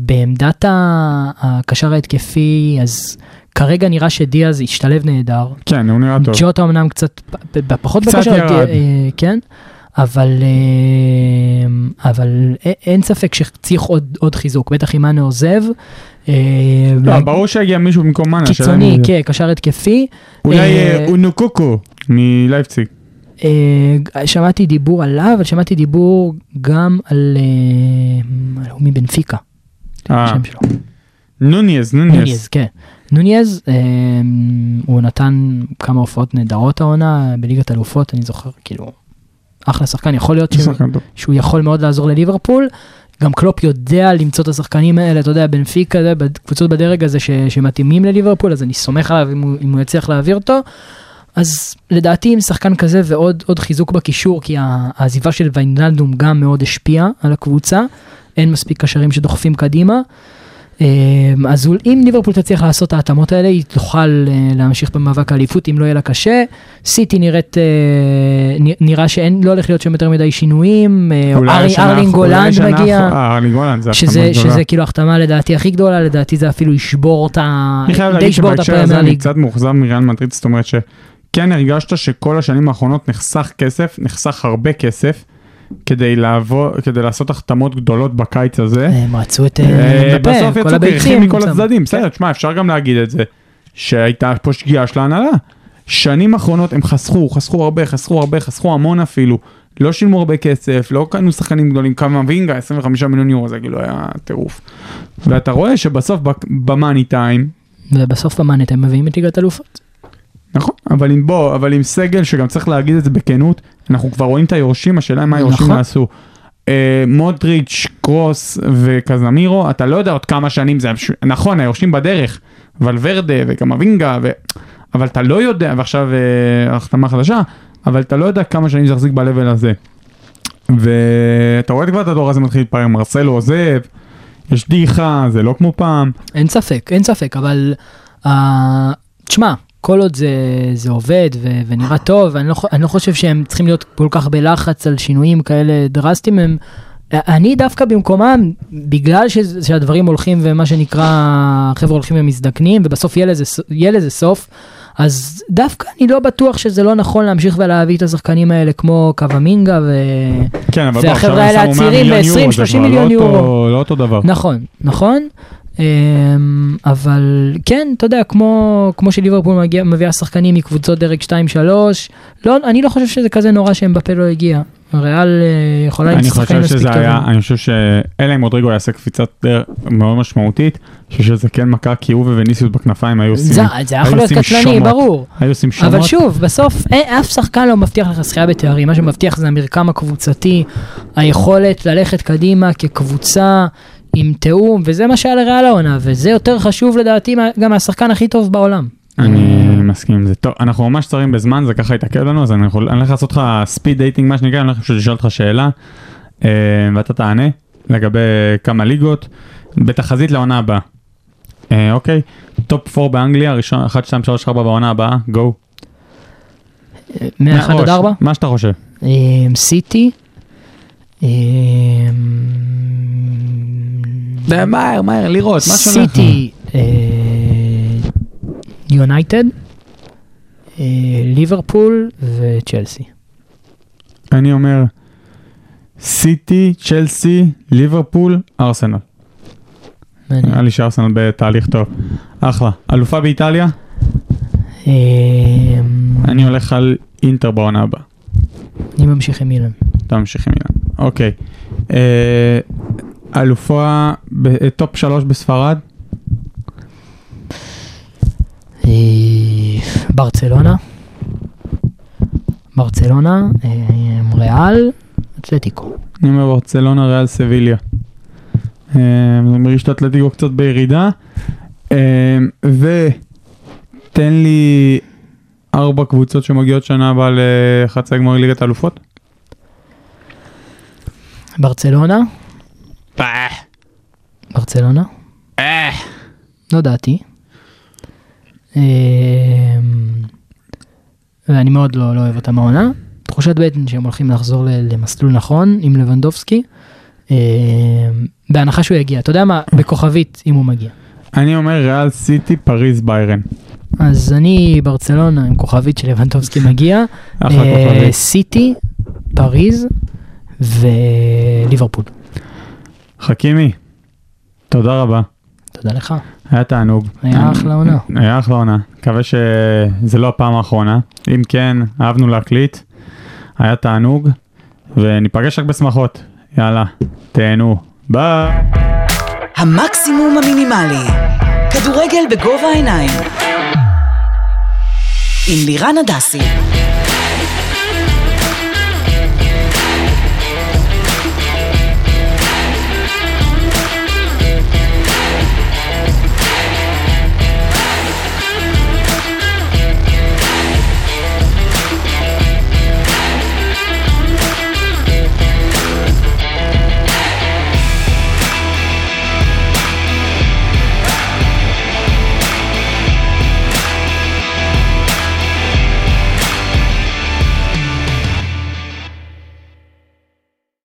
ובעמדת ה- הקשר ההתקפי, אז כרגע נראה שדיאז השתלב נהדר.
כן, הוא נראה טוב.
ג'וטה אמנם קצת, פ- פ- פחות
קצת
בכושר,
ירד.
אה, כן, אבל, אה, אבל א- אין ספק שצריך עוד, עוד חיזוק, בטח אם מאנה עוזב. אה,
לא,
להג-
ברור שהגיע מישהו במקום מאנה. השאלה אם
קיצוני,
הוא-
כן, קשר התקפי.
אולי
אה,
אה, אונוקוקו מלייפציג.
אה, שמעתי דיבור עליו, אבל שמעתי דיבור גם על... אה, הוא מבנפיקה,
אה,
השם שלו.
נוניז,
נוניז,
נוניז.
כן. נוניז, אה, הוא נתן כמה הופעות נהדרות העונה בליגת אלופות, אני זוכר, כאילו, אחלה שחקן, יכול להיות
הוא
ש...
שחקן טוב.
שהוא יכול מאוד לעזור לליברפול. גם קלופ יודע למצוא את השחקנים האלה, אתה יודע, בנפיקה, זה, בד- קבוצות בדרג הזה ש, שמתאימים לליברפול, אז אני סומך עליו אם הוא, אם הוא יצליח להעביר אותו. אז לדעתי עם שחקן כזה ועוד עוד חיזוק בקישור, כי ה- העזיבה של ויינלדום גם מאוד השפיעה על הקבוצה, אין מספיק קשרים שדוחפים קדימה. אמ, אז אול- אם ליברפול תצליח לעשות את ההתאמות האלה, היא תוכל אה, להמשיך במאבק האליפות אם לא יהיה לה קשה. סיטי נראית, אה, נ- נראה שאין, לא הולך להיות שם יותר מדי שינויים, אה,
אולי
ארי-
השנה-
ארלינג
אולי
גולנד
השנה-
מגיע,
אה, ארלינג גולנד זה
שזה,
החתמה גדולה.
שזה כאילו החתמה לדעתי הכי גדולה, לדעתי זה אפילו ישבור את ה...
אני חייב
די
להגיד
ישבור את
שבהקשר
הפרמייר
הזה אני
ליג.
קצת מאוכזב מריאל מדריד, זאת אומרת שכן הרגשת שכל השנים האחרונות נחסך כסף, נחסך הרבה כסף, כדי לעבור, כדי לעשות החתמות גדולות בקיץ הזה.
אה, הם רצו את
אה,
אה,
בסוף
מפה, כל
יצאו קרחים
הביצים. כן.
מכל
שם.
הצדדים, בסדר, תשמע, אפשר גם להגיד את זה, שהייתה פה שגיאה של ההנהלה. שנים אחרונות הם חסכו, חסכו הרבה, חסכו הרבה, חסכו המון אפילו. לא שילמו הרבה כסף, לא קנו שחקנים גדולים, כמה וינגה, 25 מיליון יורו, זה כאילו היה טירוף. ואתה רואה שבסוף בק- במאני טיים,
ובסוף במאנט הם מביאים את ליגת אלופות.
נכון, אבל עם בוא, אבל עם סגל שגם צריך להגיד את זה בכנות, אנחנו כבר רואים את היורשים, השאלה היא מה היורשים
נכון.
יעשו. אה, מודריץ', קרוס וקזמירו, אתה לא יודע עוד כמה שנים זה, המש- נכון, היורשים בדרך, ולוורדה וקמבינגה, ו... אבל אתה לא יודע, ועכשיו אה, החתמה חדשה, אבל אתה לא יודע כמה שנים זה יחזיק ב-level הזה. ואתה רואה כבר את הדור הזה מתחיל להתפרר, מרסלו עוזב, יש דיחה, זה לא כמו פעם.
אין ספק, אין ספק, אבל... אה, תשמע, כל עוד זה, זה עובד ו, ונראה טוב, אני לא, חו- אני לא חושב שהם צריכים להיות כל כך בלחץ על שינויים כאלה דרסטיים. הם, אה, אני דווקא במקומם, בגלל ש, שהדברים הולכים ומה שנקרא, החבר'ה הולכים ומזדקנים, ובסוף יהיה לזה, ס- יהיה לזה סוף, אז דווקא אני לא בטוח שזה לא נכון להמשיך ולהביא את השחקנים האלה כמו קוואמינגה ו...
כן, אבל בוא,
והחבר'ה
עכשיו הם
האלה
שמו 100
הצעירים
מיליון יורו, זה
ב- 20-30
כבר לא
מיליון
אותו-
יורו.
לא אותו דבר.
נכון, נכון. אמ, אבל כן, אתה יודע, כמו, כמו שליברפול מגיע, מביאה שחקנים מקבוצות דרג 2-3, לא, אני לא חושב שזה כזה נורא שבפה לא הגיע. ריאל אה, יכולה עם
אני
שחקנים
חושב
מספיק
שזה היה,
טובים.
אני חושב שאלא אם רודריגו יעשה קפיצת דרך מאוד משמעותית, אני חושב שזה כן מכה כי הוא ווניסיוס בכנפיים היו
זה,
עושים,
זה היה
היו
יכול להיות
עושים
קטלני,
שומות.
ברור.
היו עושים
אבל
שמות,
שוב, בסוף אה, אף שחקן לא מבטיח לך זכייה בתארים, מה שמבטיח זה המרקם הקבוצתי, היכולת ללכת קדימה כקבוצה עם תיאום, וזה מה שהיה לריאל העונה, וזה יותר חשוב לדעתי מה- גם מהשחקן הכי טוב בעולם.
אני מסכים עם זה. טוב, אנחנו ממש צרים בזמן, זה ככה התעכב לנו, אז אני יכול- אני הולך לעשות לך ספיד דייטינג, מה שנקרא, אני הולך פשוט לשאול אותך שאלה, אה, ואתה תענה לגבי כמה ליגות, בתחזית לעונה הבאה. אה, אוקיי, טופ 4 באנגליה, ראשון, 1, 2, 3, 4 בעונה הבאה, גו.
מ-1 אה, עד
מהראש,
4?
מה שאתה חושב.
אמ, סיטי. אמ, אמ,
מהר, מהר, לראות,
סיטי. אה, יונייטד. אה, ליברפול וצ'לסי.
אני אומר, סיטי, צ'לסי, ליברפול, ארסנל.
מעניין.
נראה לי שארסנל בתהליך טוב. אחלה. אלופה באיטליה?
אה,
אני הולך על אינטר בעונה הבאה.
אני ממשיך עם אילן.
אתה ממשיך עם אילן. אוקיי. אה, אלופה, ב- אה, טופ שלוש בספרד?
אה, ברצלונה. ברצלונה, אה, ריאל, אתלטיקו.
אני אומר ברצלונה, ריאל סביליה. אה, זה מרגיש את האתלטיקו קצת בירידה. אה, ותן לי ארבע קבוצות שמגיעות שנה הבאה לחצי גמר ליגת האלופות.
ברצלונה.
אה.
ברצלונה. לא דעתי. אמ, ואני מאוד לא לא אוהב אותם העונה. תחושת בטן שהם הולכים לחזור ל- למסלול נכון עם לבנדובסקי. אמ, בהנחה שהוא יגיע, אתה יודע מה? בכוכבית אם הוא מגיע.
אני אומר ריאל סיטי, פריז, ביירן.
אז אני ברצלונה עם כוכבית של לבנדובסקי מגיע.
אחלה
אה,
כוכבית.
סיטי, פריז וליברפול.
חכימי, תודה רבה.
תודה לך.
היה תענוג.
היה אחלה עונה.
היה אחלה עונה. מקווה שזה לא הפעם האחרונה. אם כן, אהבנו להקליט. היה תענוג. וניפגש רק בשמחות. יאללה, תהנו. ביי.
המקסימום המינימלי. כדורגל בגובה העיניים. עם לירן הדסי.